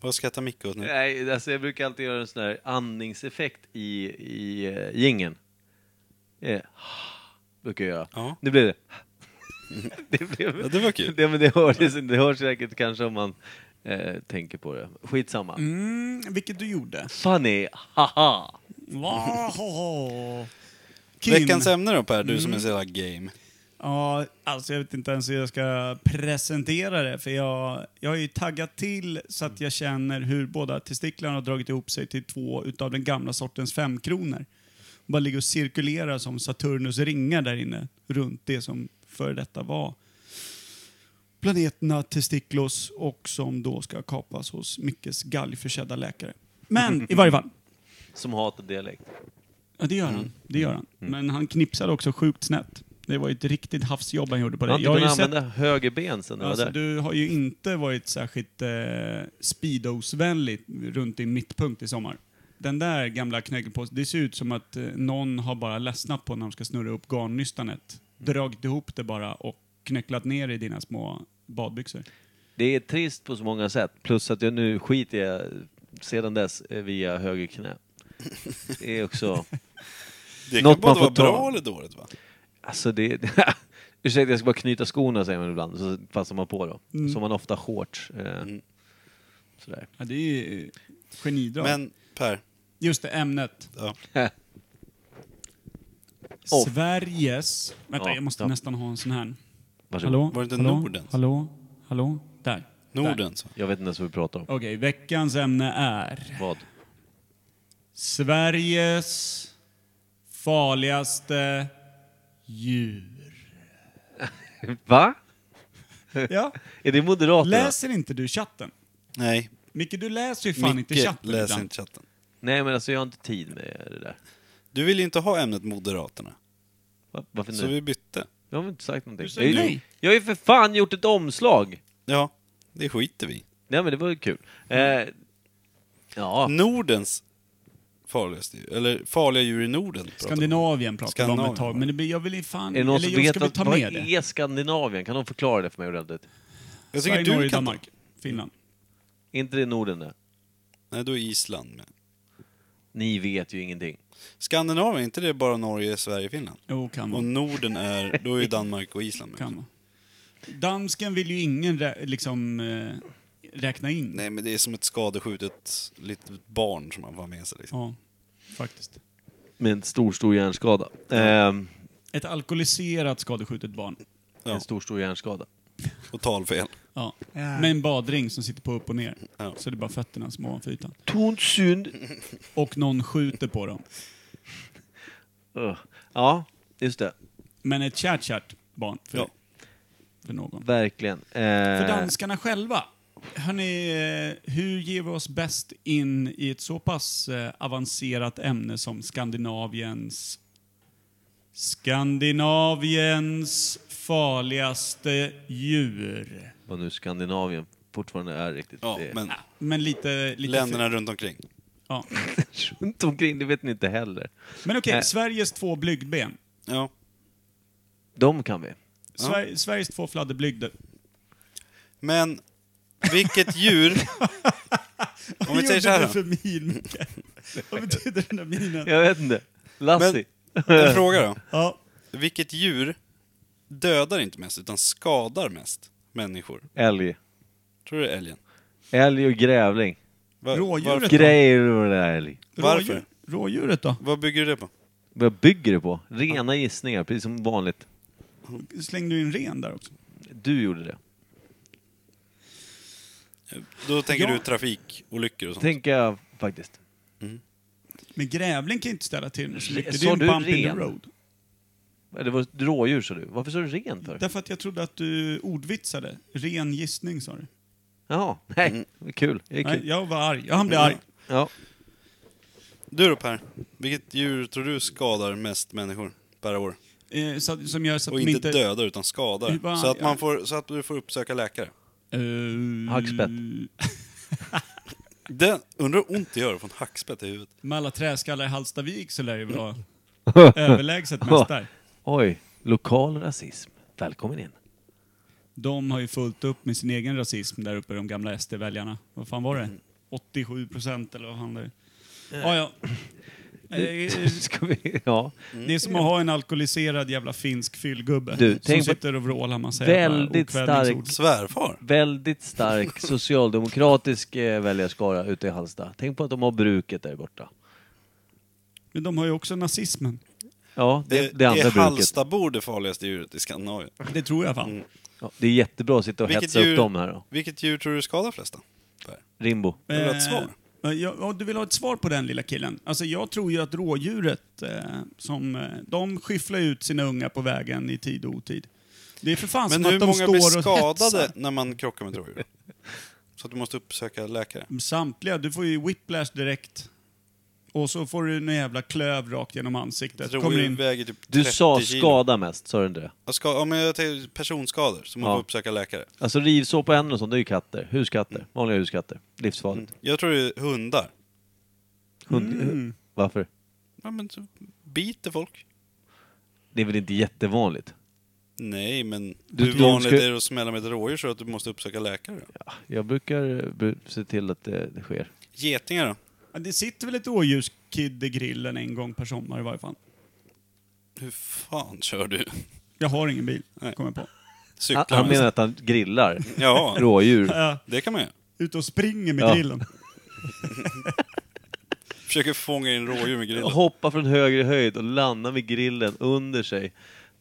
Vad skrattar Micke åt nu? Nej, alltså jag brukar alltid göra en sån här andningseffekt i, i uh, gingen. Eh, brukar jag göra. Ja. Nu blev det. det, blev, Ja, det var kul. Det, men det, hördes, inte. det hörs säkert kanske om man eh, tänker på det. Skitsamma. Mm, vilket du gjorde. Funny, haha. Wow. Kim, Mm. Veckans ämne då Per, du som är så jävla game. Ja, alltså jag vet inte ens hur jag ska presentera det, för jag, jag har ju taggat till så att jag känner hur båda testiklarna har dragit ihop sig till två utav den gamla sortens femkronor. Bara ligger och cirkulerar som Saturnus ringar där inne, runt det som före detta var planeterna Testiklos och som då ska kapas hos Mickes galgförsedda läkare. Men i varje fall, Som hatar dialekt. Ja, det gör han. Mm. Det gör han. Men han knipsade också sjukt snett. Det var ju ett riktigt havsjobb han gjorde på Jag det. har inte Jag har ju kunnat sett, använda höger ben sen jag var alltså, där. du har ju inte varit särskilt eh, speedos-vänlig runt din mittpunkt i sommar. Den där gamla knäggepåsen, det ser ut som att eh, någon har bara ledsnat på när de ska snurra upp garnnystanet. Mm. Dragit ihop det bara och knöcklat ner i dina små badbyxor. Det är trist på så många sätt. Plus att jag nu skiter jag sedan dess eh, via höger knä. Det är också... Det Något kan både man får vara bra ta. eller dåligt va? Alltså det... Ursäkta, jag ska bara knyta skorna säger man ibland. Så passar man på då. Som man ofta shorts. Eh, Sådär. Ja, det är ju eh, genidrag. Men Per, Just det, ämnet. ja. Oh. Sveriges... Vänta, Ja, jag måste ja. nästan ha en sån här. Varsågod. Hallå? Var det inte Hallå? Nordens? Hallå? Hallå? Där. Där. Norden så. Jag vet inte ens vad vi pratar om. Okej, veckans ämne är Vad? Sveriges farligaste djur. Va? Ja, Är det Moderaterna? läser inte du chatten? Nej, Micke, du läser ju fan Micke inte chatten läser ibland. inte chatten. Nej men alltså jag har inte tid med det där. Du vill ju inte ha ämnet Moderaterna, Va? Varför så nu? vi bytte. Jag har väl inte sagt någonting. Du säger jag, nej. jag har ju för fan gjort ett omslag! Ja, det skiter vi i. Nej men det var ju kul. Eh, ja, Nordens farligaste djur, eller farliga djur i Norden. pratar vi om. Skandinavien pratar vi om Skandinavien. ett tag, men det blir, jag vill ju fan... är det någon Eller som jag vet ska vi vad, ta vad med det? är Skandinavien? Kan de förklara det för mig ordentligt? Jag tycker Sverige, du Norge, kan Danmark, Finland. Är inte det Norden det? ta- Nej, då är Island med. Ni vet ju ingenting. Skandinavien, inte det bara Norge, Sverige, Finland? Jo, kan vara. Och Norden är, då är ju Danmark och Island med. Kan vara. Dansken vill ju ingen rä- liksom eh, räkna in. Nej, men det är som ett skadeskjutet litet barn som man får med sig. Liksom. Ja, faktiskt. Med en stor, stor hjärnskada. Ehm, Ett alkoholiserat skadeskjutet barn. Ja. En stor, stor hjärnskada. Och talfel. Ja. Med en badring som sitter på upp och ner. Ja. Så det är bara fötterna som är ovanför ytan. Tont synd. Och någon skjuter på dem. Ugh. Ja, just det. Men ett kärt, kärt barn för, Ja. för någon. Verkligen. Eh, För danskarna själva. Hörrni, eh, hur ger vi oss bäst in i ett så pass eh, avancerat ämne som Skandinaviens... Skandinaviens farligaste djur. Vad nu Skandinavien fortfarande är riktigt... Ja, det- men Men lite... lite länderna runt omkring. Ja. Runt omkring, det vet ni inte heller. Men okej, Eh. Nej. Sveriges två blygdben. Ja. De kan vi. Sver- Sveriges två fladderblygder. Men vilket djur... Om vi säger så Vad här gjorde då. du för min, Micke? Vad betyder den där minen? Jag vet inte. Lassi. En fråga då. Ja. Vilket djur dödar inte mest, utan skadar mest människor? Älg. Tror du det är älgen? Älg och grävling. Var, Rådjuret. varför- Grejer och det där älg. Varför? Rådjur, rådjuret då? Vad bygger du det på? Vad bygger du på? Rena gissningar, precis som vanligt. Slängde du in ren där också? Du gjorde det. Då tänker Ja. du trafikolyckor och sånt? Tänker jag faktiskt. Men grävling kan ju inte ställa till med så mycket. Sa det är en du bump in ren? the road. Det var ett rådjur sa du. Varför sa du rent för? Därför att jag trodde att du ordvitsade. Ren gissning sa du. Jaha, nej. Mm. Det är Kul. Det är Nej, kul. jag var arg. Ja, han blev arg. Ja. Du då Per, vilket djur tror du skadar mest människor per år? Eh, så, att- som gör så att Och de inte, inte... dödar utan skadar. Hur var- Så att, ja. man får, så att du får uppsöka läkare. Eh, Hackspett. Den, undrar hur ont det gör att få en hackspett i huvudet. Med alla träskallar i Hallstavik så lär det vara överlägset mest där. Oj. Lokal rasism. Välkommen in. De har ju fullt upp med sin egen rasism där uppe, de gamla SD-väljarna. Vad fan var det? 87 procent eller vad fan det är. Ja, ja. Mm. Eh, Ska vi... Ja. Mm. Det är som att ha en alkoholiserad jävla finsk fyllgubbe Du, som tänk på- sitter och vrålar massa Väldigt jävla okvädingsord. stark- Svärfar? Väldigt stark socialdemokratisk eh, väljarskara ute i Halmstad. Tänk på att de har bruket där borta. Men de har ju också nazismen. Ja, det, det, Det andra är bruket. Hallstabor det farligaste djuret i Skandinavien. Det tror jag Mm. fan. Ja, det är jättebra att sitta och Vilket hetsa djur- upp dem här då. Vilket djur tror du skadar flest då? Alltså, Per? Rimbo. Vill du ha ett svar? Eh, ja, ja, du vill ha ett svar på den lilla killen? Alltså jag tror ju att rådjuret, eh, som, eh, de skyfflar ut sina ungar på vägen i tid och otid. Det är för fan Men som hur att de många blir står och skadade hetsar. när man krockar med ett rådjur? Så att du måste uppsöka läkare? Samtliga, du får ju whiplash direkt. Och så får du en jävla klöv rakt genom ansiktet. Ett Kommer rådjur in. väger typ 30 Du sa kilo. skada mest, sa du inte det? Ja, ska, ja, men jag tänkte personskador, så man Ja. får uppsöka läkare. Alltså rivsår på händerna och sånt, det är ju katter. Huskatter. Vanliga huskatter. Livsfarligt. Mm. Jag tror det är hundar. Mm. Hund... Varför? Ja, men så biter folk. Det är väl inte jättevanligt? Nej, men Du- hur de vanligt ska- är det att smälla med ett rådjur så att du måste uppsöka läkare? då? Jag brukar eh, bru- se till att det, det sker. Getingar då? Ja, Det sitter väl ett rådjurskid i grillen en gång per sommar i varje fall. Hur fan kör du? Jag har ingen bil, Nej. kom jag på. Han, Cyklar? han man? menar att han grillar Ja, rådjur. det kan man göra. Ut och springer med Ja. grillen. Försöker fånga in rådjur med grillen. Hoppa från högre höjd och landa med grillen under sig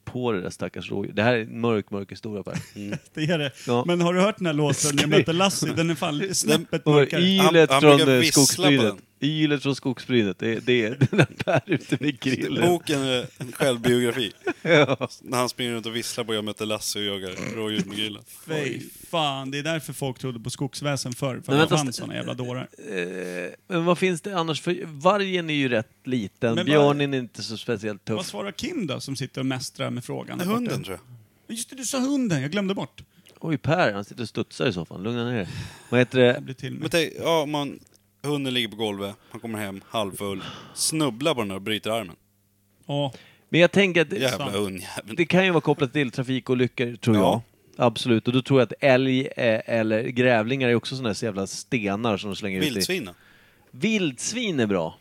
på det där stackars rådjuret. Det här är en mörk, mörk historia Per. Mm. Det är det. Ja. Men har du hört den här låten, Jag mötte Lassie? Den är fan snäppet Och mörkare. ylet han från brukar eh, vissla på skogsbrynet. den. Ylet från skogsbrynet. Det, det är den där Per ute med grillen. Boken är en självbiografi. När han springer runt och visslar på Jag mötte Lasse och jagar rådjur med grillen. Fy fan, det är därför folk trodde på skogsväsen förr. För Men att det vänta, fanns st- såna jävla dårar. Eh, Men vad finns det annars för... Vargen är ju rätt liten, Men vad- björnen är inte så speciellt Vad tuff. svarar Kim då, som sitter och mästrar med frågan? Det är där borta? hunden tror jag. Just det, du sa hunden. Jag glömde bort. Oj Per, han sitter och studsar i soffan. Lugna ner dig. Vad heter Jag det? blir till Men med. tänk, ja, man, hunden ligger på golvet, han kommer hem halvfull, snubblar på den och bryter armen. Ja, Men jag tänker att... det- Jävla hundjävel. Det kan ju vara kopplat till trafikolyckor, tror Ja. jag. Absolut, och då tror jag att älg eh, eller grävlingar är också sådana här jävla stenar som de slänger ut i. Vildsvin då? Vildsvin är bra.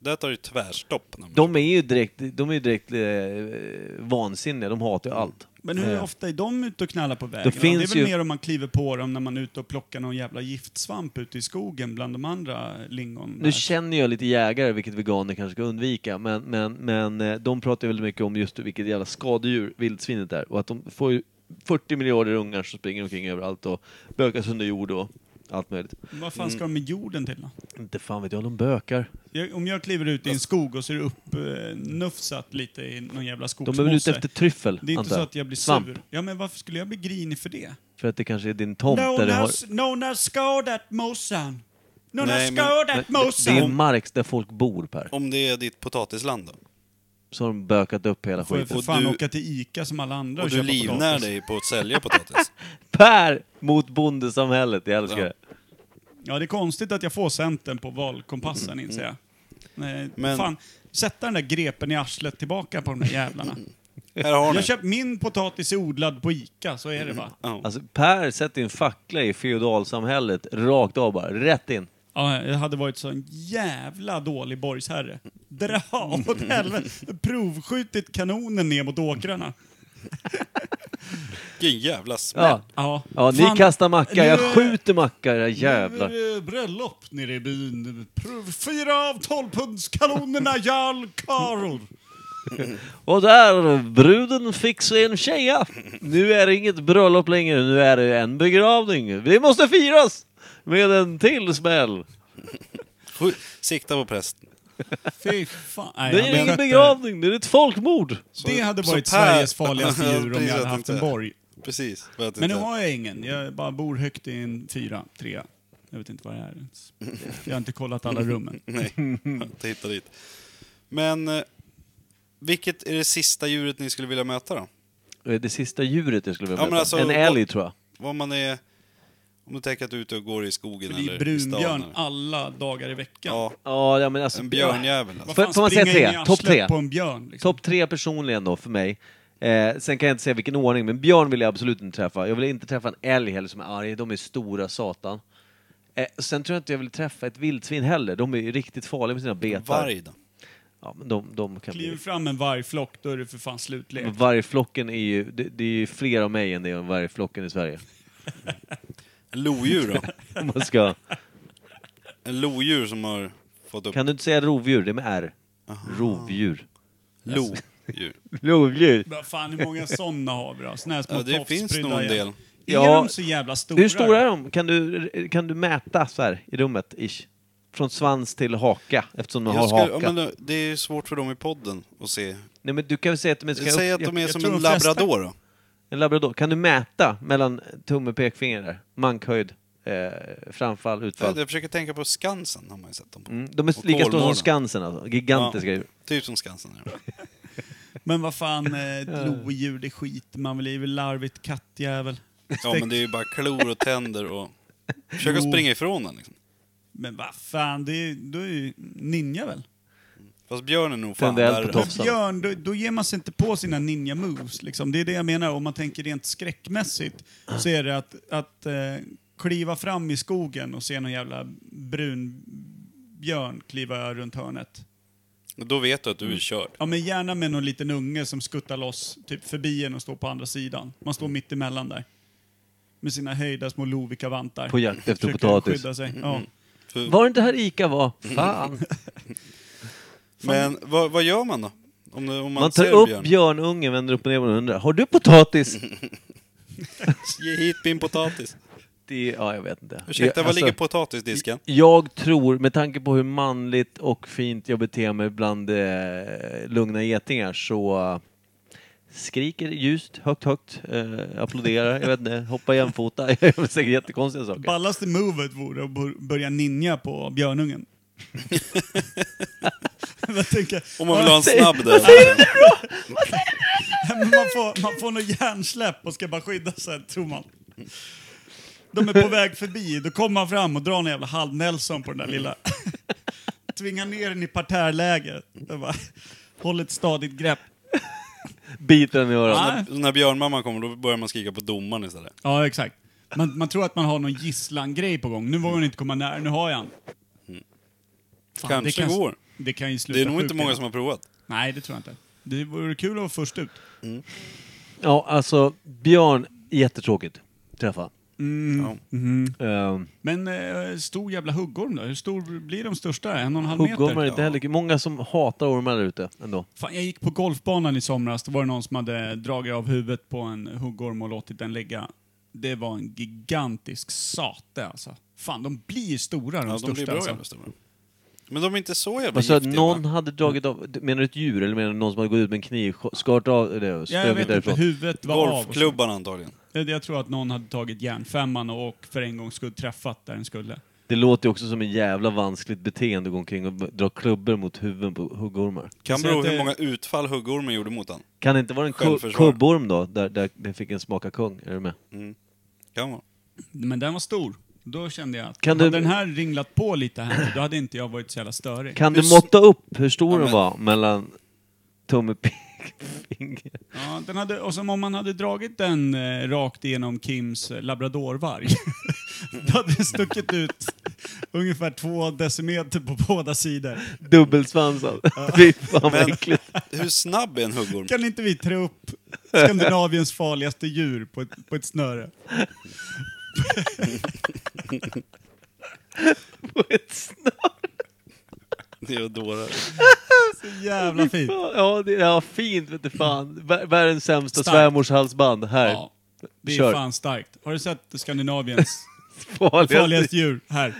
Där tar det tvärstopp. När man De är ju direkt, de är ju direkt eh, vansinniga, de hatar ju Mm. allt. men hur Eh, ofta är de ute och knallar på vägen? Det Det, finns är väl ju- mer om man kliver på dem när man är ute och plockar någon jävla giftsvamp ute i skogen bland de andra lingon. Nu där. känner jag lite jägare, vilket veganer kanske ska undvika, men, men, men eh, de pratar ju väldigt mycket om just vilket jävla skadedjur vildsvinet är och att de får ju 40 miljarder ungar som springer omkring överallt och bökas under jord och allt möjligt. Vad fan ska de med jorden till då? Inte fan vet jag, de bökar. Jag, om jag kliver ut i en skog och ser upp eh, nufsat lite i någon jävla De är väl ute skogsmosse. efter tryffel, det är inte antar så att jag blir Svamp. sur. Ja, men varför skulle jag bli grinig för det? För att det kanske är din tomt där Någon det har har... s- någon har skadat mossan. Någon har Nej, men- Men skadat Det är mossan. mark där folk bor Per. Om det är ditt potatisland då? Så har de bökat upp hela Får jag skiten. för Och fan du- åka till ICA som alla andra Och du köpa livnär potatis. dig på att sälja potatis? Per mot bondesamhället, jag älskar Ja. det. Ja, det är konstigt att jag får Centern på valkompassen, inser jag. Nej, Mm, Men- Fan, sätta den där grepen i arslet tillbaka på de där jävlarna. Här har ni. Jag köpt min potatis är odlad på ICA, så är Mm. det va? Ja. Alltså Per sätter en fackla i feodalsamhället rakt av bara, rätt in. Ja, jag hade varit sån jävla dålig borgsherre. Dra åt Mm. helvete. Provskjutit kanonen ner mot åkrarna. Vilken jävla smäll. Ja, Ja, ja ni Fan, kastar macka, jag nu är- skjuter macka era Nu jävlar. är det bröllop nere i byn. Prov- Fyra av tolvpundskanonerna Jarl Karol. Och där, bruden fick sig en tjeja. Nu är det inget bröllop längre, nu är det en begravning. Vi måste firas! Med en till smäll. Skjut- Sikta på prästen. Fy fan. Nej, Det han är ingen skötte- begravning, det är ett folkmord. Det hade Så varit Per- Sveriges farligaste Ja, djur om precis, jag jag hade haft tänkte en det. borg. Precis. för att Men nu inte- har jag ingen. Jag bara bor högt i en fyra, trea. Jag vet inte vad det är ens. Jag har inte kollat alla rummen. Nej, jag har inte hittat dit. Men eh, vilket är det sista djuret ni skulle vilja möta då? Det sista djuret jag skulle vilja Ja, möta. men alltså, en vad- älg tror jag. Vad man är... Om du tänker att du är ute och går i skogen Det är eller i stan. brunbjörn eller- alla dagar i veckan. Ja, Ja, ja men alltså... en björnjävel alltså. Vad fan Får- får man säga springer jag tre? in i Topp arslet tre? på en björn? Liksom. Topp tre personligen då för mig. Eh, sen kan jag inte säga vilken ordning, men björn vill jag absolut inte träffa. Jag vill inte träffa en älg heller som är arg, de är stora satan. Eh, sen tror jag inte jag vill träffa ett vildsvin heller, de är ju riktigt farliga med sina betar. Varg då? Ja, men de, de kan Kliver bli... fram en vargflock, då är det för fan slutlek. Vargflocken är ju, det, det är ju fler av mig än det är om vargflocken i Sverige. En lodjur då? Om man ska... En lodjur som har fått upp... Kan du inte säga rovdjur? Det är med R. Rovdjur. Lo. ju. Lodjur. Vad fan, hur många sådana har vi då? Såna här små Ja, det finns tofsprydda nog en jävlar. del. Är Ja. de så jävla stora? Hur stora är de? Kan du, kan du mäta så här i rummet, ish? Från svans till haka, eftersom de har Jag ska, haka. ja, men det är svårt för dem i podden att se. Nej, men du kan väl säga att de ska Säg upp, att de är jag som tror en de flesta- labrador då. En labrador. Kan du mäta mellan tumme och pekfinger där? Mankhöjd, eh, framfall, utfall. Jag försöker tänka på Skansen, har man ju sett dem på. Mm, de är Och lika stora som Kolmården. Skansen alltså. Gigantiska djur. Typ som Skansen. ja. Men vad fan, eh, ett lodjur, det skiter man väl i. Det är väl larvigt kattjävel. Ja, men det är ju bara klor och tänder och... Försök att Jo. springa ifrån den liksom. Men vad fan, det är, då är ju ninja väl? Fast björnen är nog fan Tände eld på värre. topp. Hoppsan. Björn, då, då ger man sig inte på sina ninja moves. Liksom. Det är det jag menar. Om man tänker rent skräckmässigt så är det att, att eh, kliva fram i skogen och se någon jävla brun björn kliva runt hörnet. Då vet du att du är körd. Ja, men gärna med någon liten unge som skuttar loss typ förbi en och står på andra sidan. Man står mitt emellan där. Med sina höjda små Lovikka-vantar. På jakt efter Försöker potatis. Mm. skydda sig. Ja. För- Var det inte här ICA var? Fan. Men vad, vad gör man då? Om, det- om man, Man tar ser upp björn? björnungen, vänder upp och ner och undrar. Har du potatis? Ge hit min potatis. Det, ja, jag vet inte. Ursäkta, Jag- var alltså- ligger potatisdisken? Jag tror, med tanke på hur manligt och fint jag beter mig bland eh, lugna getingar, så eh, skriker ljust, högt, högt, eh, applåderar, jag vet inte, hoppar jämfota. Jag gör säkert jättekonstiga saker. Ballaste movet vore att bör- börja ninja på björnungen. jag tänker, Om man vill ha en snabb där. Nej, men man får, man får något hjärnsläpp och ska bara skydda sig, tror man. De är på väg förbi, då kommer man fram och drar en jävla halv-Nelson på den där lilla... Tvingar ner den i parterläge. Jag bara, Håll ett stadigt grepp. Biter den i öronen. Nej. Så När björnmamman kommer då börjar man skrika på domaren istället. Ja, exakt. Man, man tror att man har någon gisslan-grej på gång. Nu vågar hon inte komma nära, nu har jag han. Fan, Kanske kan, går. Det kan ju sluta Det är nog sjukt inte många illa. som har provat. Nej, det tror jag inte. Det vore kul att vara först ut. Ja, alltså, björn, jättetråkigt. Träffa. Mm. Eh, Men eh, stor jävla huggorm då? Hur stor blir de största? En och en halv Huggormar meter? är inte heller kul. Många som hatar ormar där ute ändå. Fan, jag gick på golfbanan i somras, då var det någon som hade dragit av huvudet på en huggorm och låtit den ligga. Det var en gigantisk sate alltså. Fan, de blir stora de Ja, de största blir bra alltså. jävla stora. Men de är inte så jävla Alltså, giftiga. någon va? hade dragit av, menar du ett djur eller menar du någon som hade gått ut med en kniv, skarat av det och Ja, jag vet stövit inte, därifrån? huvudet var av. Golfklubban antagligen. och så. Jag tror att någon hade tagit järnfemman och för en gång skulle träffat där den skulle. Det låter ju också som en jävla vanskligt beteende att gå omkring och b- dra klubbor mot huvuden på huggormar. Kan Så bero att hur det- många utfall huggormen gjorde mot han. Kan det inte vara en ku- Självförsvar. kubborm då, där, där det fick en smaka kung? Är du med? Kan vara. Men den var stor. Då kände jag att Kan hade du- den här ringlat på lite här då hade inte jag varit så jävla störig. Kan du Hur s- måtta upp hur stor Ja, den men- var mellan tumme och pekfinger? Ja, den hade, och som om man hade dragit den eh, rakt igenom Kims eh, labradorvarg. Då hade det stuckit ut ungefär två decimeter på båda sidor. Dubbelsvansad. Fy fan vad Men- äckligt. Hur snabb är en huggorm? Kan inte vi trä upp Skandinaviens farligaste djur på ett, på ett snöre? På ett snö. Det är dårar. Så jävla fint. Ja, det, ja, fint vete fan. Vär- Världens sämsta Starkt. svärmors halsband. Här. Ja, det är Kör. fan starkt. Har du sett Skandinaviens Farligaste. farligaste djur här?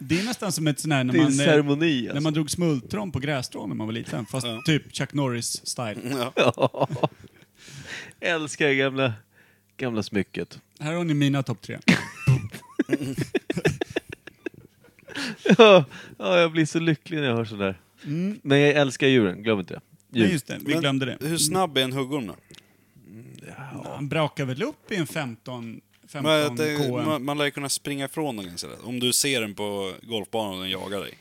Det är nästan som ett sån här när Det är en man, eh, ceremoni när alltså. man drog smultron på grässtrån när man var liten. Fast Ja. typ Chuck Norris-style. alltså. Älskar det gamla, gamla smycket. Här har ni mina topp tre. Ja, ja, jag blir så lycklig när jag hör sådär. Men jag älskar djuren, glöm inte det. Djur. Nej, just det. Vi Mm. Men glömde det. Hur snabb är en huggorm då? Han brakar väl upp i en 15, 15 Men jag tänker, km. man, man lär ju kunna springa ifrån den ganska lätt. Om du ser den på golfbanan och den jagar dig.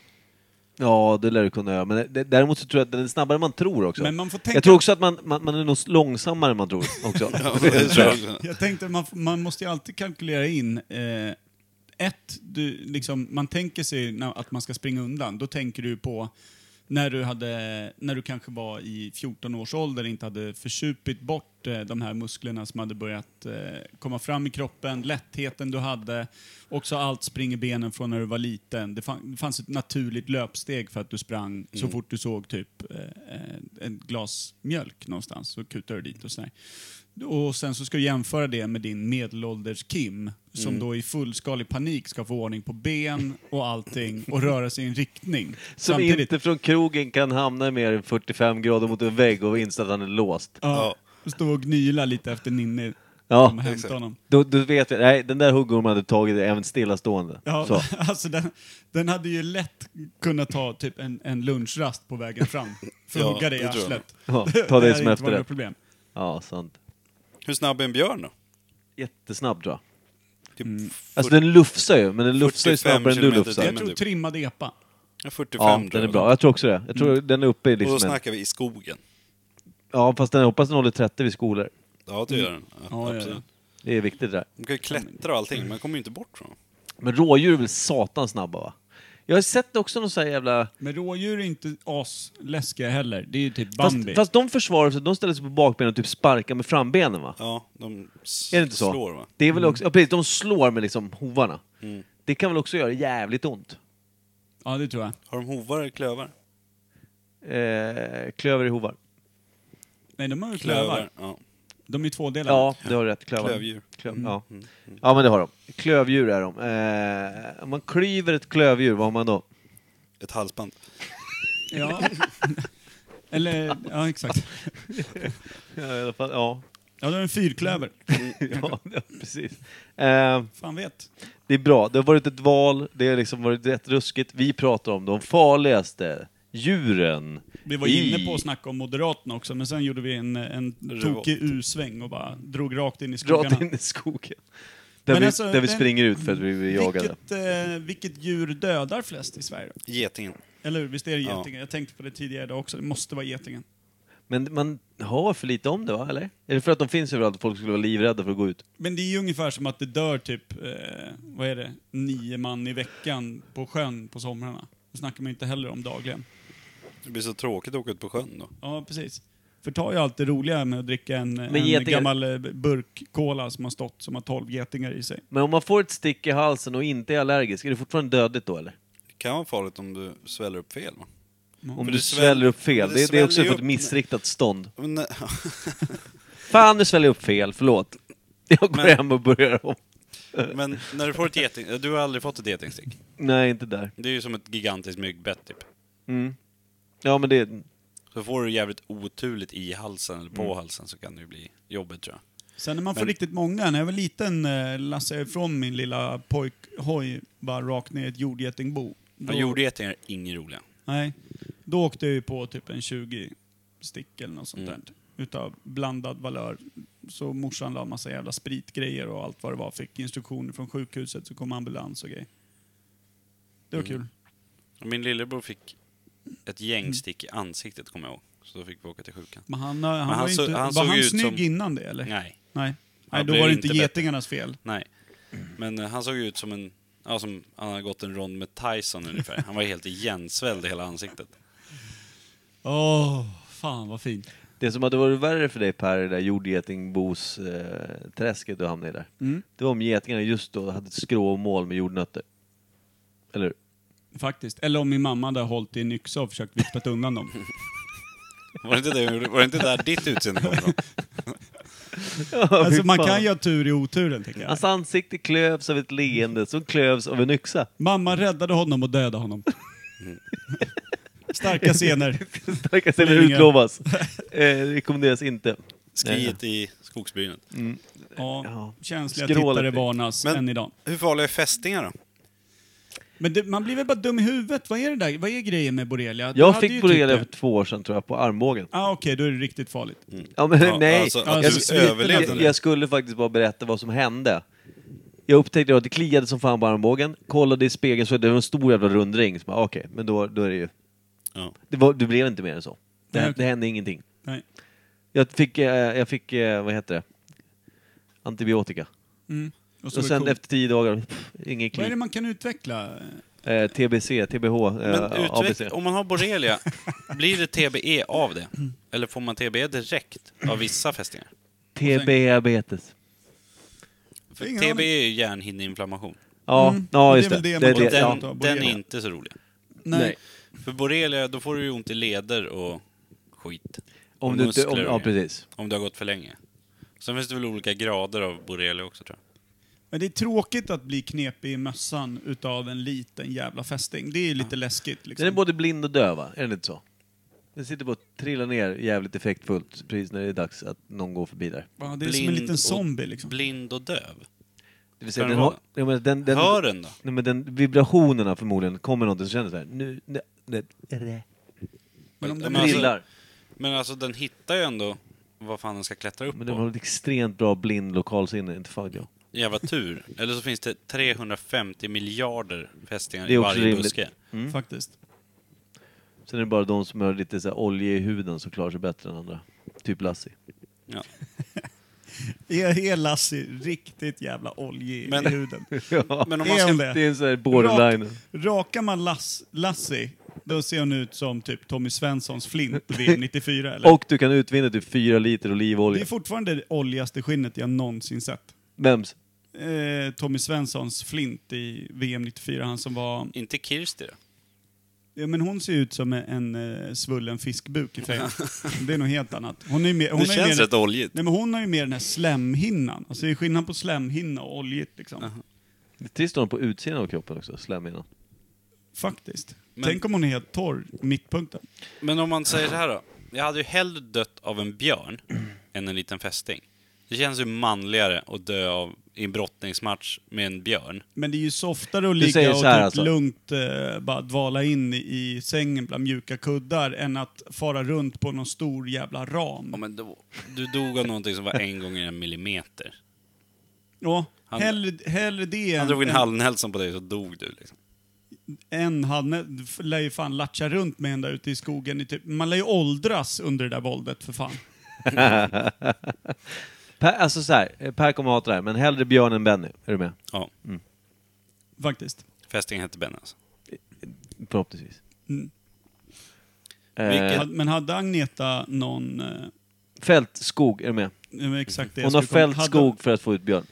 Ja, det lär du kunna göra. Men det, däremot så tror jag att den är snabbare än man tror också. Men man får tänka- Jag tror också att man, man, man är nog långsammare än man tror också. Det tror jag också. Jag tänkte, man, man måste ju alltid kalkylera in. Eh, ett, du, liksom, man tänker sig när, att man ska springa undan. Då tänker du på när du, hade, när du kanske var i 14 års ålder, inte hade försupit bort bort eh, de här musklerna som hade börjat eh, komma fram i kroppen, lättheten du hade, också allt spring i benen från när du var liten. Det fan- det fanns ett naturligt löpsteg för att du sprang så fort du såg typ eh, eh, ett glas mjölk någonstans, så kutade du dit och sådär. Och sen så ska du jämföra det med din medelålders Kim som då i fullskalig panik ska få ordning på ben och allting och röra sig i en riktning. Som inte från krogen kan hamna mer än 45 grader mot en vägg och inse att han är låst. Ja. Stå och gnyla lite efter Ninni. Ja, som hämtade exakt. honom. Då, då vet vi, nej den där huggormen hade tagit även stillastående. Så. Ja, alltså den, den hade ju lätt kunnat ta typ en, en lunchrast på vägen fram. För att Ja, hugga dig i det tror jag. arslet. Ja, ta det hade som inte varit efterrätt. något problem. Ja, sant. Hur snabb är en björn då? Jättesnabb tror jag. Typ Alltså den lufsar ju, men den lufsar ju 45 snabbare än du kilometer lufsar. i Jag men typ. tror du- trimmad epa. 45 Ja, tror den är jag. Mm. bra. Jag tror också det. Jag tror den är uppe i Och då liksom en, snackar vi i skogen. Ja, fast den, jag hoppas den håller 30 vid skolor. Ja, Mm. det gör den. Ja, Ja, ja, absolut. ja. Det är viktigt det där. De kan ju klättra och allting, men de kommer ju inte bort från dem. Men rådjur är väl satans snabba va? Jag har sett också någon sån här jävla... Men rådjur är inte asläskiga heller. Det är ju typ Fast, Bambi. fast de försvarar sig, de ställer sig på bakbenen och typ sparkar med frambenen va? Ja, de s- Är det inte så? slår va? Mm. Det är väl också, ja, precis, de slår med liksom hovarna. Det kan väl också göra jävligt ont? Ja, det tror jag. Har de hovar eller klövar? Eh, klöver i hovar. Nej, de har ju klövar. Ja. De är tvådelade. Ja, du har rätt. Klövar. Klövdjur. Klöv, ja. ja, men det har de. Klövdjur är de. Eh, om man klyver ett klövdjur, vad har man då? Ett halsband. Ja. Eller, ja exakt. Ja, i alla fall, ja. Ja, de är en fyrklöver. ja, ja, precis. Eh, Fan vet. det är bra. Det har varit ett val, det har liksom varit rätt ruskigt. Vi pratar om de farligaste djuren Vi var i- inne på att snacka om Moderaterna också, men sen gjorde vi en, en Revolt. tokig U-sväng och bara drog rakt in i skogarna. Rakt in i skogen. Där, Men vi, alltså, där vi den- springer ut för att vi blir jagade. Vilket, eh, vilket djur dödar flest i Sverige? då? Getingen. Eller hur? Visst är det Ja. getingen? Jag tänkte på det tidigare idag också. Det måste vara getingen. Men man hör för lite om det va, eller? Är det för att de finns överallt och folk skulle vara livrädda för att gå ut? Men det är ju ungefär som att det dör typ, eh, vad är det, nio man i veckan på sjön på somrarna. Det snackar man ju inte heller om dagligen. Det blir så tråkigt att åka ut på sjön då. Ja, precis. Förtar ju allt det roliga med att dricka en, en getingar- gammal eh, burk cola som har stått, som har tolv getingar i sig. Men om man får ett stick i halsen och inte är allergisk, är det fortfarande dödligt då eller? Det kan vara farligt om du sväller upp fel va? Om För du det sväll- sväller upp fel, det, det det, är sväller också ju för ett upp- missriktat stånd. Men, nej, Fan, nu sväller jag upp fel, förlåt. Jag går Men- hem och börjar om. men när du får ett geting... Du har aldrig fått ett getingstick? Nej, inte där. Det är ju som ett gigantiskt myggbett typ. Mm. Ja, men det... Så får du jävligt oturligt i halsen eller på Mm. halsen så kan det ju bli jobbigt tror jag. Sen när man får Men- riktigt många, när jag var liten eh, lassade jag ifrån min lilla pojkhoj bara rakt ner i ett jordgetingbo. Men jordgetingar är inget roliga. Nej. Då åkte jag ju på typ en 20 stick eller något sånt Mm. där. Utav blandad valör. Så morsan la en massa jävla spritgrejer och allt vad det var. Fick instruktioner från sjukhuset, så kom ambulans och grejer. Det var Mm. kul. Min lillebror fick ett gäng stick i ansiktet kommer jag ihåg. Så då fick vi åka till sjukan. Men han, han, var, han ju så- inte, han var såg han ju ut snygg som- innan det eller? Nej, Nej. Nej, Han då blev var det inte inte bättre. getingarnas fel. nej. Men eh, han såg ju ut som en... Ja, som han hade gått en rond med Tyson ungefär. Han var helt igensvälld i hela ansiktet. Åh, fan vad fint. Det som hade varit värre för dig Per, det där jordgetingbos-träsket du hamnade i där. Mm. Det var om getingarna just då hade ett skråmål med jordnötter. Eller hur? Faktiskt. Eller om min mamma hade hållit i en yxa och försökt vifta undan dem. Var det inte, det, var det inte där ditt utseende kom ifrån? alltså man fy fan. Alltså- kan ju ha tur i oturen tycker jag. Hans ansikte klövs av ett leende som klövs av en yxa. Mamma räddade honom och dödade honom. Starka scener. Starka ställen Ingen. utlovas. Eh, rekommenderas inte. Skriet i skogsbrynet. Ja, Ja. känsliga Skrålet. tittare varnas Men- än idag. Hur farliga är fästingar då? Men det, man blir väl bara dum i huvudet? Vad är det där? Vad är grejen med borrelia? Du Jag hade ju fick borrelia Typ för två år sedan tror jag, på armbågen. det. ah, okej, då är det riktigt farligt. Ja, men, Ja, nej. alltså, Ja, att jag du skulle- överlevde jag, det. jag skulle faktiskt bara berätta vad som hände. Jag upptäckte att det kliade som fan på armbågen, kollade i spegeln så det var en stor jävla rundring. Så bara, "Ah, Okej, men då, då är det ju... Ja. Det, var, det blev inte mer än så. Det, Nej, okej. det hände ingenting. Nej. Jag fick, eh, jag fick eh, vad heter det? Antibiotika. Mm. Och så Och var det sen coolt. efter tio dagar, pff, ingen Vad är kli. det man kan utveckla? Eh, TBC, TBH, eh, Men ABC. utveck- om man har E borrelia, blir det TBE E av det? Eller får man TBE direkt av vissa fästingar? TB-diabetes. För Ingen TB aning. är ju hjärnhinneinflammation. Ja, Mm, det ja är just det. väl det det, man det, tar det, bort. Ta ja. Den, den är borrelia. inte så rolig. Nej. Nej. För borrelia, då får du ju ont i leder och skit. Om Och du inte, om, muskler. ja, precis. Om det har gått för länge. Sen finns det väl olika grader av borrelia också tror jag. Men det är tråkigt att bli knepig i mössan utav en liten jävla fästing. Det är ju lite läskigt liksom. Den är både blind och döv, va? Är den inte så? Den sitter på att trilla ner jävligt effektfullt precis när det är dags att någon går förbi där. ja, det är som en liten och- zombie liksom. Blind och döv. Det vill säga, Kan det den, vara har, ja, men den, den, Hör den då? Nej, men den vibrationerna förmodligen kommer någonting som känner såhär, nu, nu, nu, nu, Men om Ja, den men alltså- trillar. Men alltså den hittar ju ändå vad fan den ska klättra upp Men på. den har ett extremt bra blind lokalsinne, inte fan vet jag. Jävla tur. Eller så finns det 350 miljarder fästingar Det är i också varje rimligt. buske. Mm. Mm. faktiskt. Sen är det bara de som har lite så här olja i huden som klarar sig bättre än andra. Typ Lassie. Ja. Är, är E, Lassie riktigt jävla oljig Men- i huden? Ja, Men om Är man hon ska... det? det är en sån här borderline. Rakar man lass, Lassie, då ser hon ut som typ Tommy Svenssons flint vid 94 eller? Och du kan utvinna typ fyra liter Det olivolja. är fortfarande det oljigaste skinnet jag någonsin sett. Vems? Eh, Tommy Svenssons flint i VM 94, han som var... Inte Kirsty då? Ja, men hon ser ut som en eh, svullen fiskbuk i färgen. Det är nog helt annat. Hon, är mer, hon, Det har ju känns mer, rätt oljigt. nej, men hon har ju mer den här slemhinnan. Alltså det är skillnad på slemhinna och oljigt liksom. Det är trist att hon på utsidan av kroppen också, slemhinnan. Faktiskt. Men- Tänk om hon är helt torr, i mittpunkten. Men om man säger så här då. Jag hade ju hellre dött av en björn än en liten fästing. Det känns ju manligare att dö av i en brottningsmatch med en björn. Men det är ju softare att säger ligga och så här typ alltså. lugnt eh, bara dvala in i sängen bland mjuka kuddar än att fara runt på någon stor jävla ram. Ja, men då, du dog av någonting som var en gånger en millimeter. Ja, Han- hellre, hellre det Han än drog in en, halvnälsan på dig så dog du. Liksom. en halv... Du f- lär ju fan latcha runt med en där ute i skogen. I typ, man lär ju åldras under det där våldet för fan. Per, alltså så här, eh, Per kommer hata det här, men hellre Björn än Benny. Är du med? Ja, Faktiskt. fästingen hette Ben alltså. Förhoppningsvis. Mm. Eh, Vilket- Had- Men hade Agneta någon... eh, fältskog, är du med? eh, Exakt det jag Hon har skulle komma- fällt hade- skog för att få ut Björn.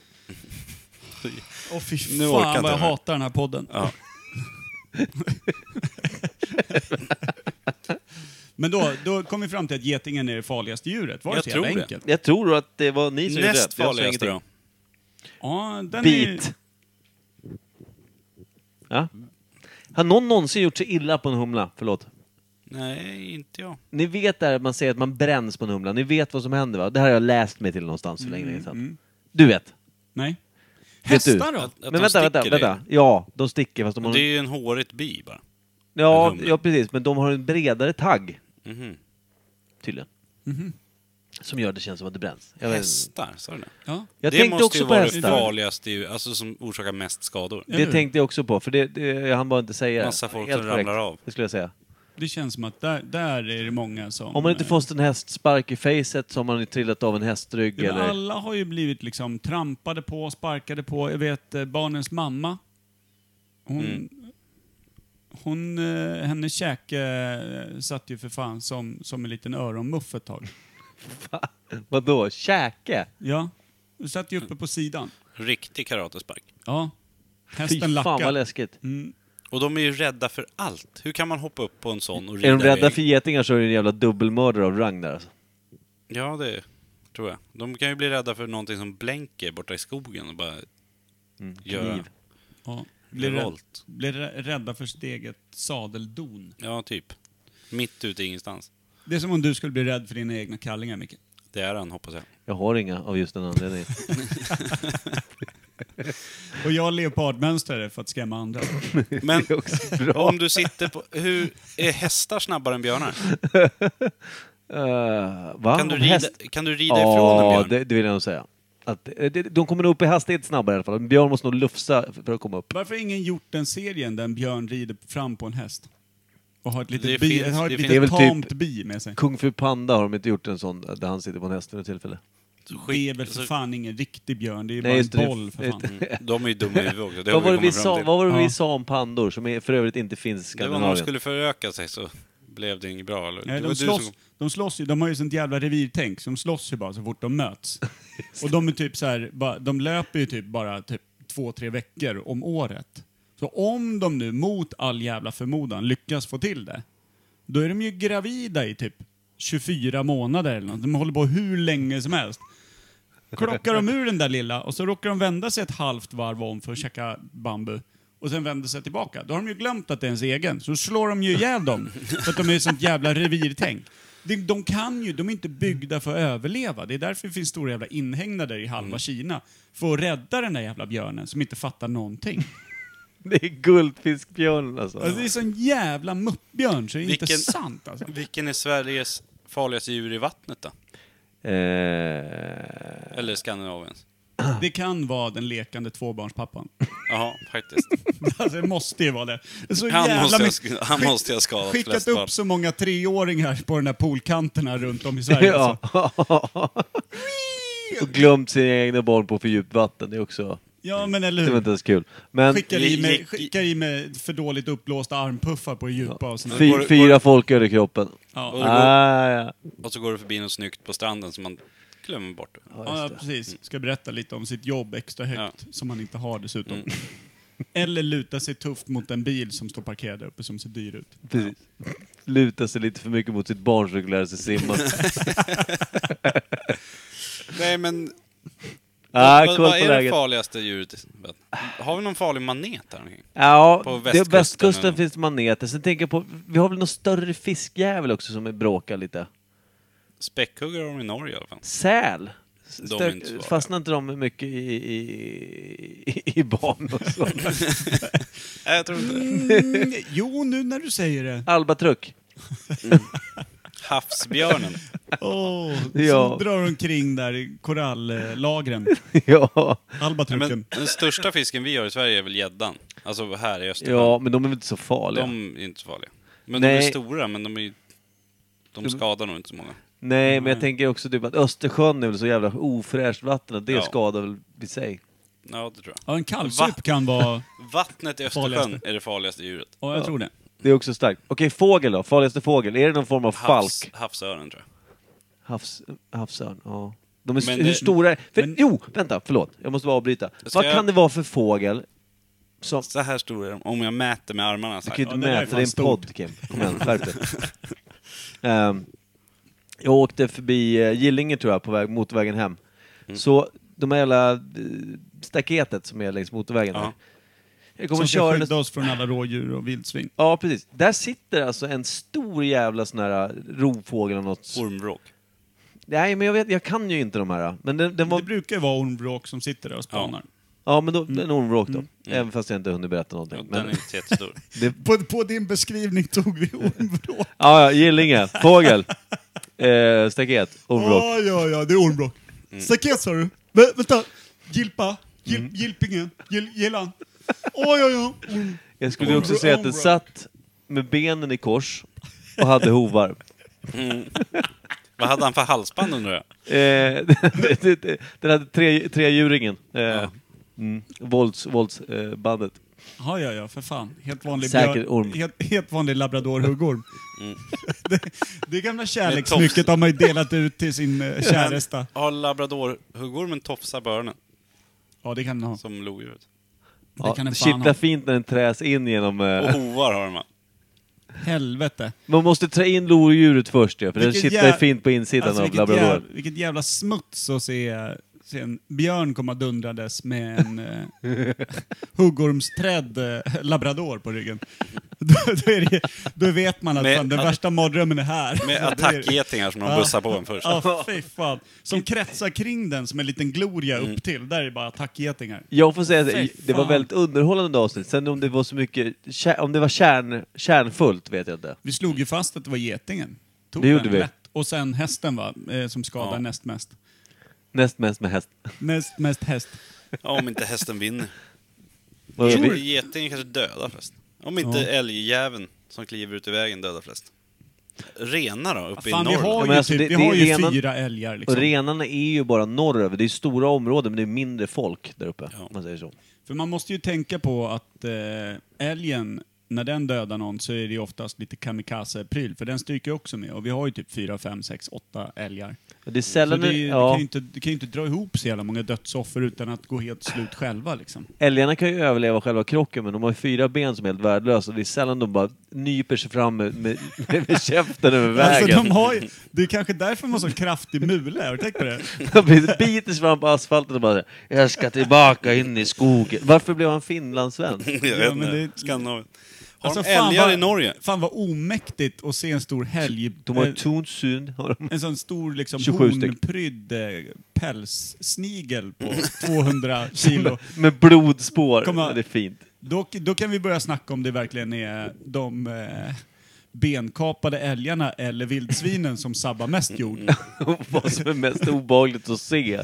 Åh fy fan Nu orkar vad inte jag jag mer. hatar den här podden. Ja. Men då, då kom vi fram till att getingen är det farligaste djuret. Var det Jag så jävla tror det. enkelt? Jag tror att det var ni som gjorde det. Näst Jag sa farligaste ingenting. då? Ja, den Bit. är... Ja? Har någon någonsin gjort sig illa på en humla? Förlåt. Nej, inte jag. Ni vet där att man säger att man bränns på en humla. Ni vet vad som händer va? Det här har jag läst mig till någonstans för länge, länge Mm, sedan. Du vet. Nej. Vet du? Hästar då? Att, att men de vänta, vänta, sticker dig. vänta. Ja, de sticker fast de har... Det är ju en hårigt bi bara. en ja, humla. ja, precis. Men de har en bredare tagg, Mhm. tydligen. Som gör att det känns som att det bränns. Jag, vet- Hästar, sa du det? Ja. jag det tänkte måste också ju på vara det hästar. farligaste, ju, alltså som orsakar mest skador. Det tänkte jag också på, för det, det, jag hann bara inte säga det. Massa folk Helt som korrekt. ramlar av. Det skulle jag säga. Det känns som att där, där är det många som... Om man inte fått en hästspark i facet så har man ju trillat av en hästrygg Ja, men eller... eh, Alla har ju blivit liksom trampade på, sparkade på. Jag vet eh, barnens mamma. Hon, Mm. hon, eh, hennes käke eh, satt ju för fan som, som en liten öronmuff ett tag. Vadå? Käke? Ja, du satt ju uppe på sidan. Riktig karatespark. Ja. Fy Hästen fan vad lackade. läskigt. Och de är ju rädda för allt. Hur kan man hoppa upp på en sån och rida Är de rädda iväg? för getingar så är det en jävla dubbelmördare av rang där alltså. Ja, det tror jag. De kan ju bli rädda för någonting som blänker borta i skogen och bara Mm, göra kniv. Ja. Blev rädd, revolt. blev rä- rädda för sitt eget sadeldon. Ja, typ. Mitt ute i ingenstans. Det är som om du skulle bli rädd för dina egna kallingar, Micke. Det är han, hoppas jag. Jag har inga av just den anledningen. Och jag leopardmönstrare för att skrämma andra. Men Det är också bra. om du sitter på... Hur är hästar snabbare än björnar? Eh, va? Kan du Om rida, häst- kan du rida ifrån en Ja, björn? det, det vill jag nog säga. Att, eh, det- de kommer nog upp i hastighet snabbare i alla fall. En björn måste nog lufsa för att komma upp. Varför har ingen gjort den serien där en björn rider fram på en häst? Och har ett Det litet, bi, finns- har ett det litet finns- Det är väl typ- tamt bi med sig? Kung Fu Panda har de inte gjort en sån där han sitter på en häst för ett tillfälle. Det är väl för fan ingen riktig björn, det är ju bara just det, en det- boll för fan. De är ju dumma i huvudet också. Det har Vad var det vi vi kommit fram sa, till. vad var det vi Ja. sa om pandor som är, för övrigt inte finns i Det var när de Skandinavien? skulle föröka sig så blev det inget bra? Eller? Nej, det var de, du slåss, som- de slåss ju, de har ju sånt jävla revirtänk, som slåss ju bara så fort de möts. och de är typ så här, bara, de löper ju typ bara typ två, tre veckor om året. Så om de nu mot all jävla förmodan lyckas få till det, då är de ju gravida i typ 24 månader eller något. De håller på hur länge som helst. Klockar de ur den där lilla och så råkar de vända sig ett halvt varv om för att käka bambu och sen vänder sig tillbaka. Då har de ju glömt att det är ens egen, så slår de ju ihjäl dem. För att de är ju sånt jävla revirtänk. De, de kan ju, de är inte byggda för att överleva. Det är därför det finns stora jävla inhägnader i halva Kina. För att rädda den där jävla björnen som inte fattar någonting. Det är guldfiskbjörn alltså. Alltså, det är sån jävla muppbjörn så det är inte Vilken- sant alltså. Vilken är Sveriges farligaste djur i vattnet då? Eh, Eller Skandinaviens? Det kan vara den lekande tvåbarnspappan. Jaha, faktiskt. Alltså det måste ju vara det. Det är Så Han jävla måste ha mycket- sk- han skick- måste ha skadat Skickat flest upp barn. så många treåringar på de här poolkanterna runt om i Sverige. ja. alltså. Och glömt sina egna barn på för djupt vatten. Det är också... ja men eller Det var hur. inte ens kul. Men Skickar i, med, Gick- skickar i med för dåligt uppblåsta armpuffar på det djupa och sånt. fy, Går det- går fyra det- folköl i kroppen. Ja, Och det går, Ah, ja. och så går det förbi något snyggt på stranden som man glömmer bort. det. ja, precis. Ska berätta lite om sitt jobb extra högt, som man inte har dessutom. Mm. Eller luta sig tufft mot en bil som står parkerad uppe som ser dyr ut. Precis. Luta sig lite för mycket mot sitt barn så att lära sig simma. Nej men, ah, vad, kolla vad på är det läget. farligaste djuret? i vattnet? Har vi någon farlig manet här omkring? Ja, på det- västkusten västkusten eller- finns det maneter. Sen tänker jag på, vi har väl någon större fiskjävel också som är bråkar lite. Späckhuggare har de i Norge i alla fall. Säl. är Stök, inte så farliga. fastnar inte de mycket i, i, i, i barn och så? Nej, jag tror inte det. Mm, jo, nu när du säger det. Albatruck. Havsbjörnen. Åh, Ja. Som drar omkring där i korallagren. ja. Nej, Albatrucken. men, den största fisken vi har i Sverige är väl gäddan? Alltså här i Östersjön. ja, men de är väl inte så farliga? De är inte så farliga. Men de Nej. är stora, men de är ju- De skadar nog inte så många. Nej, men jag tänker också typ att Östersjön är väl så jävla ofräscht vatten att det Ja. skadar väl i sig. Ja, det tror jag. Ja, en kalvsup kan vara... Vattnet i Östersjön Farligaste. är det farligaste djuret. Ja, jag tror det. Det är också starkt. Okej, fågel då? Farligaste fågel? Är det någon form av Havs, falk? havsören tror jag. Havs, havsörn, ja. De är, Men hur det- stora är för, men- Jo, vänta, förlåt. Jag måste bara avbryta. Ska Vad jag- kan det vara för fågel som... Så här stor är de, om jag mäter med armarna så Du här. kan ju Ja, det inte där är mäta, fan det är en stort. podd Kim. Kom igen, skärp dig. Ehm, jag åkte förbi eh, Gillinge tror jag, på väg, motorvägen hem. Mm. Så de här jävla eh, staketet som är längs motorvägen Ja. där. Jag kommer Som köra ska nästan- skydda oss från alla rådjur och vildsvin. Ja, precis. Där sitter alltså en stor jävla sån här eh, rovfågel eller något. Ormvråk. Nej, men jag vet, jag kan ju inte de här. eh. Men den, den var... Det brukar ju vara ormbråk som sitter där och spanar. Ja, men då, Mm. en ormvråk då. Även fast jag inte hunnit berätta Ja, någonting. Men, den är inte jättestor. det, På, på din beskrivning tog vi ormbråk. ja, ja, Gillinge, fågel, eh, staket, ormvråk. Ja, ja, ja, det är ormbråk. Mm. Staket sa du? Vä- vänta! Gilpa? Gil, Gilpingen? Gil, gillan? Oj, oj, oj. Orm. Jag skulle också säga att den Ormvråk. satt med benen i kors och hade hovar. Vad hade han för halsband undrar jag? Eh, det- det- det- den hade tre, tre djuringen. Eh, mm, vålds, våldsbandet. Eh, bandet. Ja, ja, ja, för fan. Helt vanlig, Säker björ- orm. Mm. Helt, helt vanlig labradorhuggorm. det, det gamla Med kärleksmycket tofs. har man ju delat ut till sin eh, käresta. Har labradorhuggormen tofsar på öronen? Ja, det kan den ha. Som lodjuret. ja, kan den fan kittlar ha. fint när den träs in genom... Och Eh, hovar har de va? Helvete. man måste trä in lodjuret först ju, för den Vilket kittlar jä- fint på insidan Alltså, av vilket, labradoren. jävla, vilket jävla smuts att se, se en björn komma dundrandes med en eh, huggormsträdd eh, labrador på ryggen. då, då, är det, då vet man att Med- fan, den värsta mardrömmen är här. Med Då är det- attackgetingar som de bussar på en först. Ja, fy fan. Som kretsar kring den som en liten gloria Mm. upp till. Där är det bara attackgetingar. Jag får säga att Fy det var fan. väldigt underhållande avsnitt. Sen om det var så mycket, kär- om det var kärn, kärnfullt vet jag inte. Vi slog ju fast att det var getingen. Tog Det gjorde den vi. lätt. Och sen hästen va, eh, som skadar Ja. näst mest. Näst mest med häst. Näst mest häst. Ja, om inte hästen vinner. Vad gör vi? Getingen kanske dödar flest. Om inte Ja. älgjäveln som kliver ut i vägen dödar flest. Renar då, uppe Fan, i vi norr? har men ju, alltså, typ, det- vi det- har ju renan- fyra älgar Och liksom. renarna är ju bara norröver. Det är stora områden, men det är mindre folk där uppe. Om man säger så. För man måste ju tänka på att eh, älgen när den dödar någon så är det ju oftast lite kamikaze-pryl, för den stryker ju också med. Och vi har ju typ fyra, fem, sex, åtta älgar. Det är Så sällan... det, är ju- det, ja. kan ju inte, det kan ju inte dra ihop så jävla många dödsoffer utan att gå helt slut själva liksom. Älgarna kan ju överleva själva krocken men de har ju fyra ben som är helt värdelösa. Det är sällan de bara nyper sig fram med, med, med käften över vägen. Alltså, de har ju, det är kanske därför de har så kraftig mule, har du tänkt på det? Han biter sig fram på asfalten och bara Jag ska tillbaka in i skogen. Varför blev han finlandssvensk? Jag Ja, vet men inte. det- Skandinavien. Har Alltså, de älgar vad- i Norge? Fan vad omäktigt att se en stor helg... De har eh, ju tonsyn. har de. En sån stor liksom 27 styck. hornprydd eh, pälssnigel på 200 kilo. Med blodspår. Kom här. Det är fint. Då, då kan vi börja snacka om det verkligen är de eh, benkapade älgarna eller vildsvinen som sabbar mest jord. Och Vad som är mest obehagligt att se.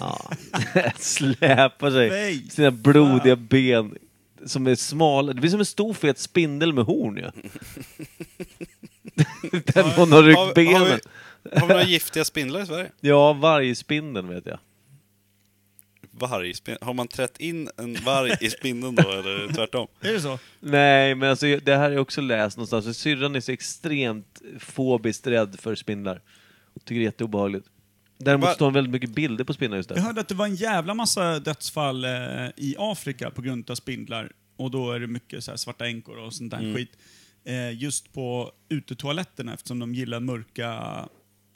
Ja. Släpar sig Nej, sina blodiga ben som är smala. Det blir som en stor fet spindel med horn ju. Där någon har Har- ryckt Har, benen. vi- har vi några giftiga spindlar i Sverige? Ja, vargspindeln vet jag. Vargspindlar? Har man trätt in en varg i spindeln då, eller tvärtom? Är det så? Nej, men alltså, det här har jag också läst någonstans. Syrran är så extremt fobiskt rädd för spindlar. Hon tycker det är jätteobehagligt. Däremot Va- står det väldigt mycket bilder på spindlar just där. Jag hörde att det var en jävla massa dödsfall eh, i Afrika på grund av spindlar. Och då är det mycket så här svarta änkor och sånt där skit. Eh, just på utetoaletterna eftersom de gillar mörka,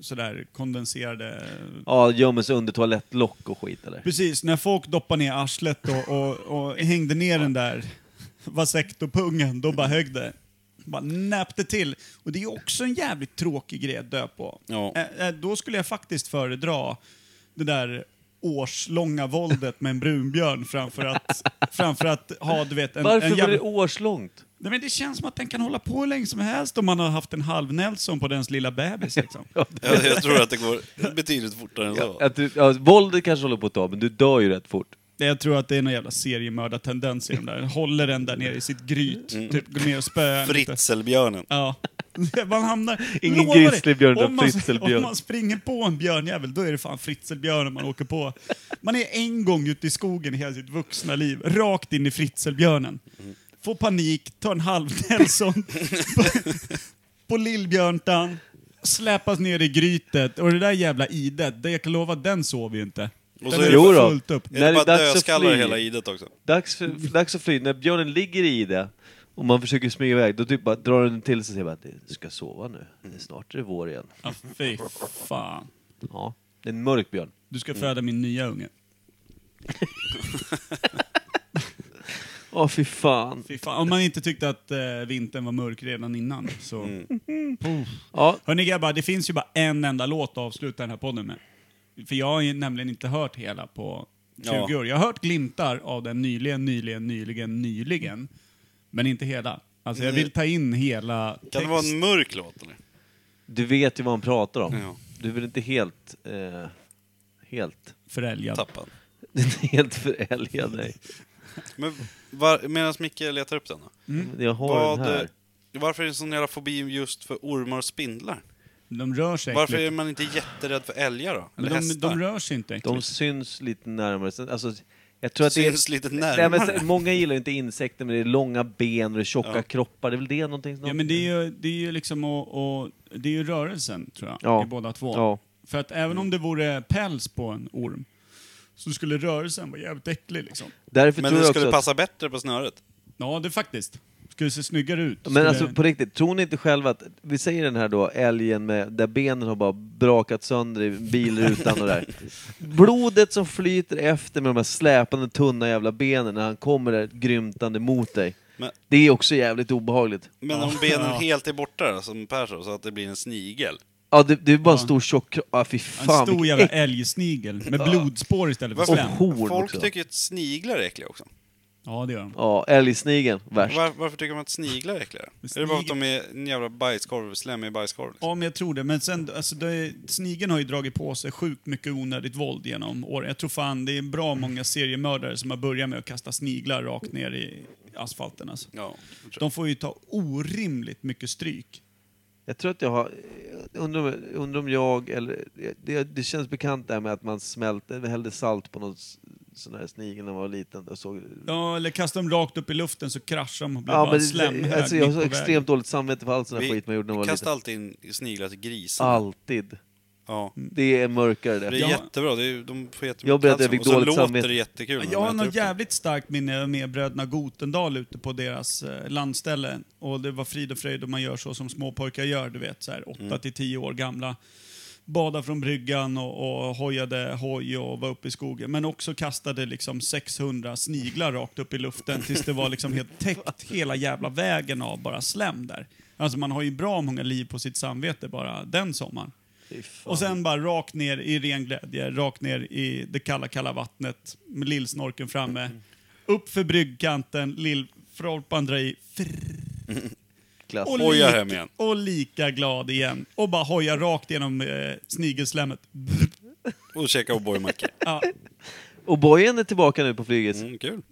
sådär kondenserade... Ja, gömmer sig under toalettlock och skit eller? Precis, när folk doppar ner arslet och, och, och hängde ner den där vasekktopungen, då bara högg det. Bara näpte till. Och det är ju också en jävligt tråkig grej att dö på. Ja. Eh, eh, Då skulle jag faktiskt föredra det där årslånga våldet med en brunbjörn framför att, framför att ha, du vet, en, Varför en var jävla... det årslångt? Nej, men det känns som att den kan hålla på hur länge som helst om man har haft en halv Nelson på dens lilla bebis liksom. Jag, jag tror att det går betydligt fortare än så. Att du, ja, våldet kanske håller på att ta, men du dör ju rätt fort. Nej, Jag tror att det är någon jävla seriemördartendens i de där. Den håller den där nere i sitt gryt. Typ går ner och spöar den lite. Fritzelbjörnen. Ja. Man hamnar... Ingen Lovar det. grizzlybjörn, utan Om man- fritzelbjörn. Om man springer på en björnjävel, då är det fan fritzelbjörnen man åker på. Man är en gång ute i skogen i hela sitt vuxna liv, rakt in i fritzelbjörnen. Får panik, tar en halv Nelson på, på lillbjörntan, släpas ner i grytet. Och det där jävla idet, det jag kan lova, den sover ju inte. Och Den så är är det- Jo då. fullt upp. Är När det det är bara dags att dödskallar i fly. hela idet också? Dags, Mm. för, dags att fly. När björnen ligger i det och man försöker smyga iväg, då typ bara drar den till sig och säger bara du ska sova nu. Mm. Det är Snart är det vår igen. Ja, fy fan. Ja, det är en mörk björn. Du ska Mm. föda min nya unge. Åh fy fan. Fy fan. Om man inte tyckte att eh, vintern var mörk redan innan så... Mm. Ja, Hörni grabbar, det finns ju bara en enda låt att avsluta den här podden med. För jag har ju nämligen inte hört hela på 20 Ja. år. Jag har hört glimtar av den nyligen, nyligen, nyligen, nyligen. Men inte hela. Alltså jag vill ta in hela Kan det text. vara en mörk låt eller? Du vet ju vad han pratar om. Ja. Du är väl inte helt... Eh, helt... förälgad. Tappad. helt förälgad? Nej. Men var, medan Micke letar upp den då. Jag har Mm. den Mm. Vad, eh, här. varför är det en sån jävla fobi just för ormar och spindlar? De rör sig Varför är äckligt. man inte jätterädd för älgar då? Eller Men de, hästar? de rör sig inte äckligt. De syns lite närmare. Sen- Alltså, jag tror att Syns det är... lite närmare. Nej, men, så- många gillar ju inte insekter, men det är långa ben och det är tjocka kroppar. Det är väl det någonting? Ja men det är ju, det är ju liksom och, och, det är ju rörelsen tror jag, Ja. i båda två. Ja. För att även om det vore päls på en orm så skulle rörelsen vara jävligt äcklig liksom. Därför Men tror det jag också skulle att... passa bättre på snöret. Ja det faktiskt. Skulle se snyggare ut. Men Skulle- alltså på riktigt, tror ni inte själva att, vi säger den här då, älgen med, där benen har bara brakat sönder i bilrutan och där. Blodet som flyter efter med de här släpande tunna jävla benen när han kommer där grymtande mot dig. Men- Det är också jävligt obehagligt. Men om benen helt är borta då, som Per sa, så att det blir en snigel. Ja, det, det är bara en stor tjock kropp. Ja, fy en fan stor vilken jävla äck- älgsnigel med blodspår istället för Och slem. horn Folk också. tycker ju att sniglar är äckliga också. Ja det gör de. Ja, älgsnigeln. Värst. Var, varför tycker man att sniglar är äckliga? Men Är det bara för att snigel- de är en jävla bajskorv, slem i bajskorv? Liksom? Ja men jag tror det. Men sen, alltså det, är- snigeln har ju dragit på sig sjukt mycket onödigt våld genom åren. Jag tror fan det är bra många seriemördare som har börjat med att kasta sniglar rakt ner i asfalten alltså. Ja, jag tror De får ju ta orimligt mycket stryk. Jag tror att jag har... jag Undrar om, undrar om jag eller... Det, det känns bekant det här med att man smälter, hällde salt på något s- sån här snigel när man var liten. Jag såg... Ja, eller kasta dem rakt upp i luften så kraschar de och blir Ja, bara men slemhög det, alltså, jag har mitt så på vägen. extremt dåligt samvete för all sån här Vi skit man gjorde när man var kastar liten. alltid in sniglar till grisar. Alltid. Mm. Ja. Det är mörkare Det är det. jättebra, det är, de får jättemycket Jag berättade Mm. att jag fick kalcium. Och så dåligt låter samvete. det jättekul när de Jag har äter något upp det. jävligt starkt minne med bröderna Gotendal ute på deras eh, landställe. Och det var frid och fröjd och man gör så som små pojkar gör, du vet, så här 8 till 10 år gamla. Bada från bryggan och, och hojade hoj och var uppe i skogen. Men också kastade liksom 600 sniglar rakt upp i luften tills det var liksom helt täckt hela jävla vägen av bara slem där. Alltså man har ju bra många liv på sitt samvete bara den sommaren. Fy fan. Och sen bara rakt ner i ren glädje, rakt ner i det kalla, kalla vattnet med lillsnorken framme. Upp för bryggkanten, lillfrolpan drar i. frrr, Klass. Och, Hoja lik- hem igen. och lika glad igen. Och bara hoja rakt genom eh, snigelslemmet. Och käka O'boy-macka. Ja, Och Bojen är tillbaka nu på flyget. Mm, kul.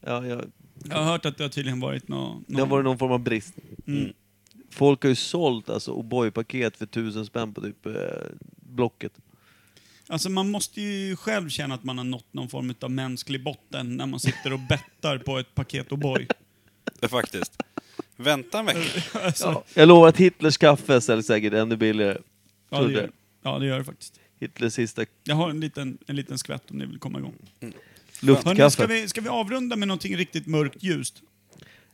Ja, jag, jag har hört att det har tydligen varit något... det har varit någon form av brist. Mm. Folk har ju sålt alltså O'boy-paket för tusen spänn på typ eh, Blocket. Alltså man måste ju själv känna att man har nått någon form av mänsklig botten när man sitter och bettar på ett paket O'boy. Det är faktiskt. Vänta en vecka. Alltså, Ja. Jag lovar att Hitlers kaffe säljs säkert ännu billigare. ja, det gör, ja, det gör det faktiskt. Hitlers sista Jag har en liten, en liten skvätt om ni vill komma igång. Hörrni, ska, luftkaffe. vi, ska vi avrunda med någonting riktigt mörkt ljust?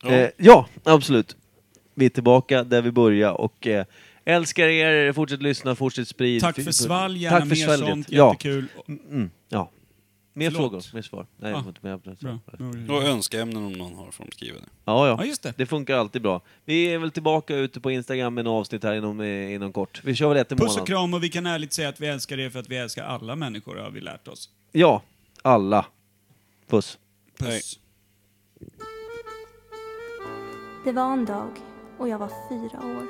Eh, ja, absolut. Vi är tillbaka där vi började och eh, älskar er, fortsätt lyssna, fortsätt sprida. Tack för svalg, gärna Tack för mer svalget. sånt, Ja, jättekul. mm, ja. Mer Förlåt. frågor, mer svar. Nej, Ah, jag får inte med. Bra. Och önskeämnen om någon har får de skriva det. Ja, ja. Ja, just det. Det funkar alltid bra. Vi är väl tillbaka ute på Instagram med en avsnitt här inom, eh, inom kort. Vi kör väl ett i Puss och månaden. kram och vi kan ärligt säga att vi älskar er för att vi älskar alla människor har vi lärt oss. Ja, alla. Puss. Puss. Hej. Det var en dag och jag var fyra år.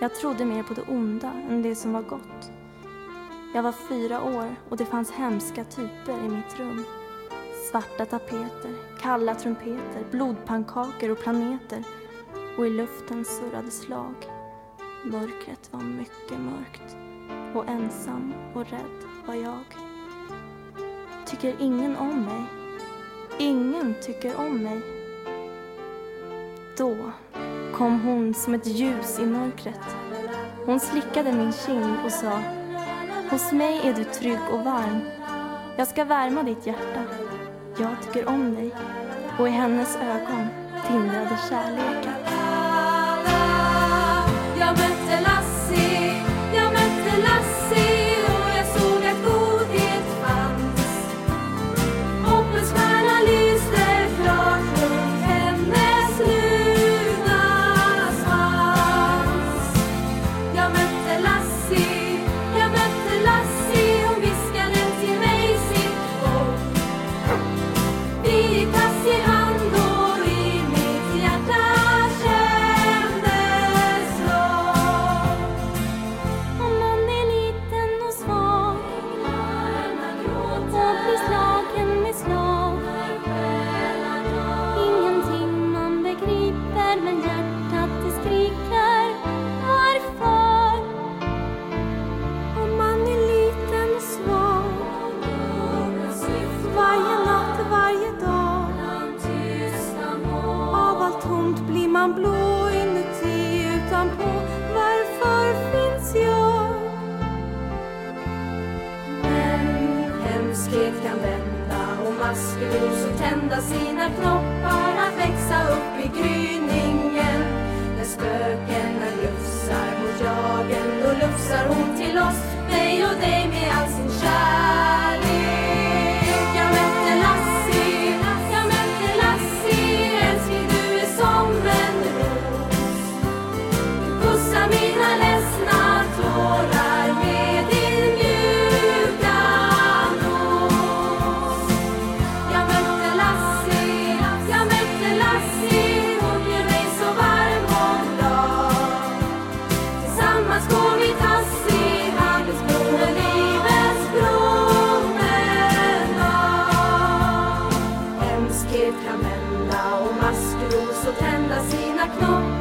Jag trodde mer på det onda än det som var gott. Jag var fyra år och det fanns hemska typer i mitt rum. Svarta tapeter, kalla trumpeter, blodpannkakor och planeter. Och i luften surrade slag. Mörkret var mycket mörkt. Och ensam och rädd var jag. Tycker ingen om mig? Ingen tycker om mig. Då kom hon som ett ljus i mörkret. Hon slickade min kind och sa Hos mig är du trygg och varm. Jag ska värma ditt hjärta. Jag tycker om dig. Och i hennes ögon tindrade kärleken. Jag mötte Lassie, jag mötte Lassie och jag såg att godhet fanns. Hoppets stjärna lyste klart runt hennes luna svans. Jag mötte Lassie, jag mötte Lassie, hon viskade till mig sitt hopp. Vi gick tass i hand och i mitt hjärta kändes lag. Om man är liten och svag och blir slagen med slag Ingenting man begriper men hjärtat det skriker Varför? Om man är liten och svag Varje natt, varje dag Av allt tomt blir man blå inuti utanpå Varför finns jag? Men hemskhet kan vända och maskrosor tända sina knoppar att växa upp i gryningen när spökena glufsar mot jagen då lufsar hon till oss, mig och dig med all sin kärlek Jag mötte Lassie, jag mötte Lassie älskling du är som en ros Pussa mina ledsna tårar med din mjuka nos. Jag mötte Lassie, jag mötte Lassie, hon gör mig så varm och glad. Tillsammans går vi tass i handelsbron och livets promenad. Hemskhet kan vända och maskrosor tända sina knoppar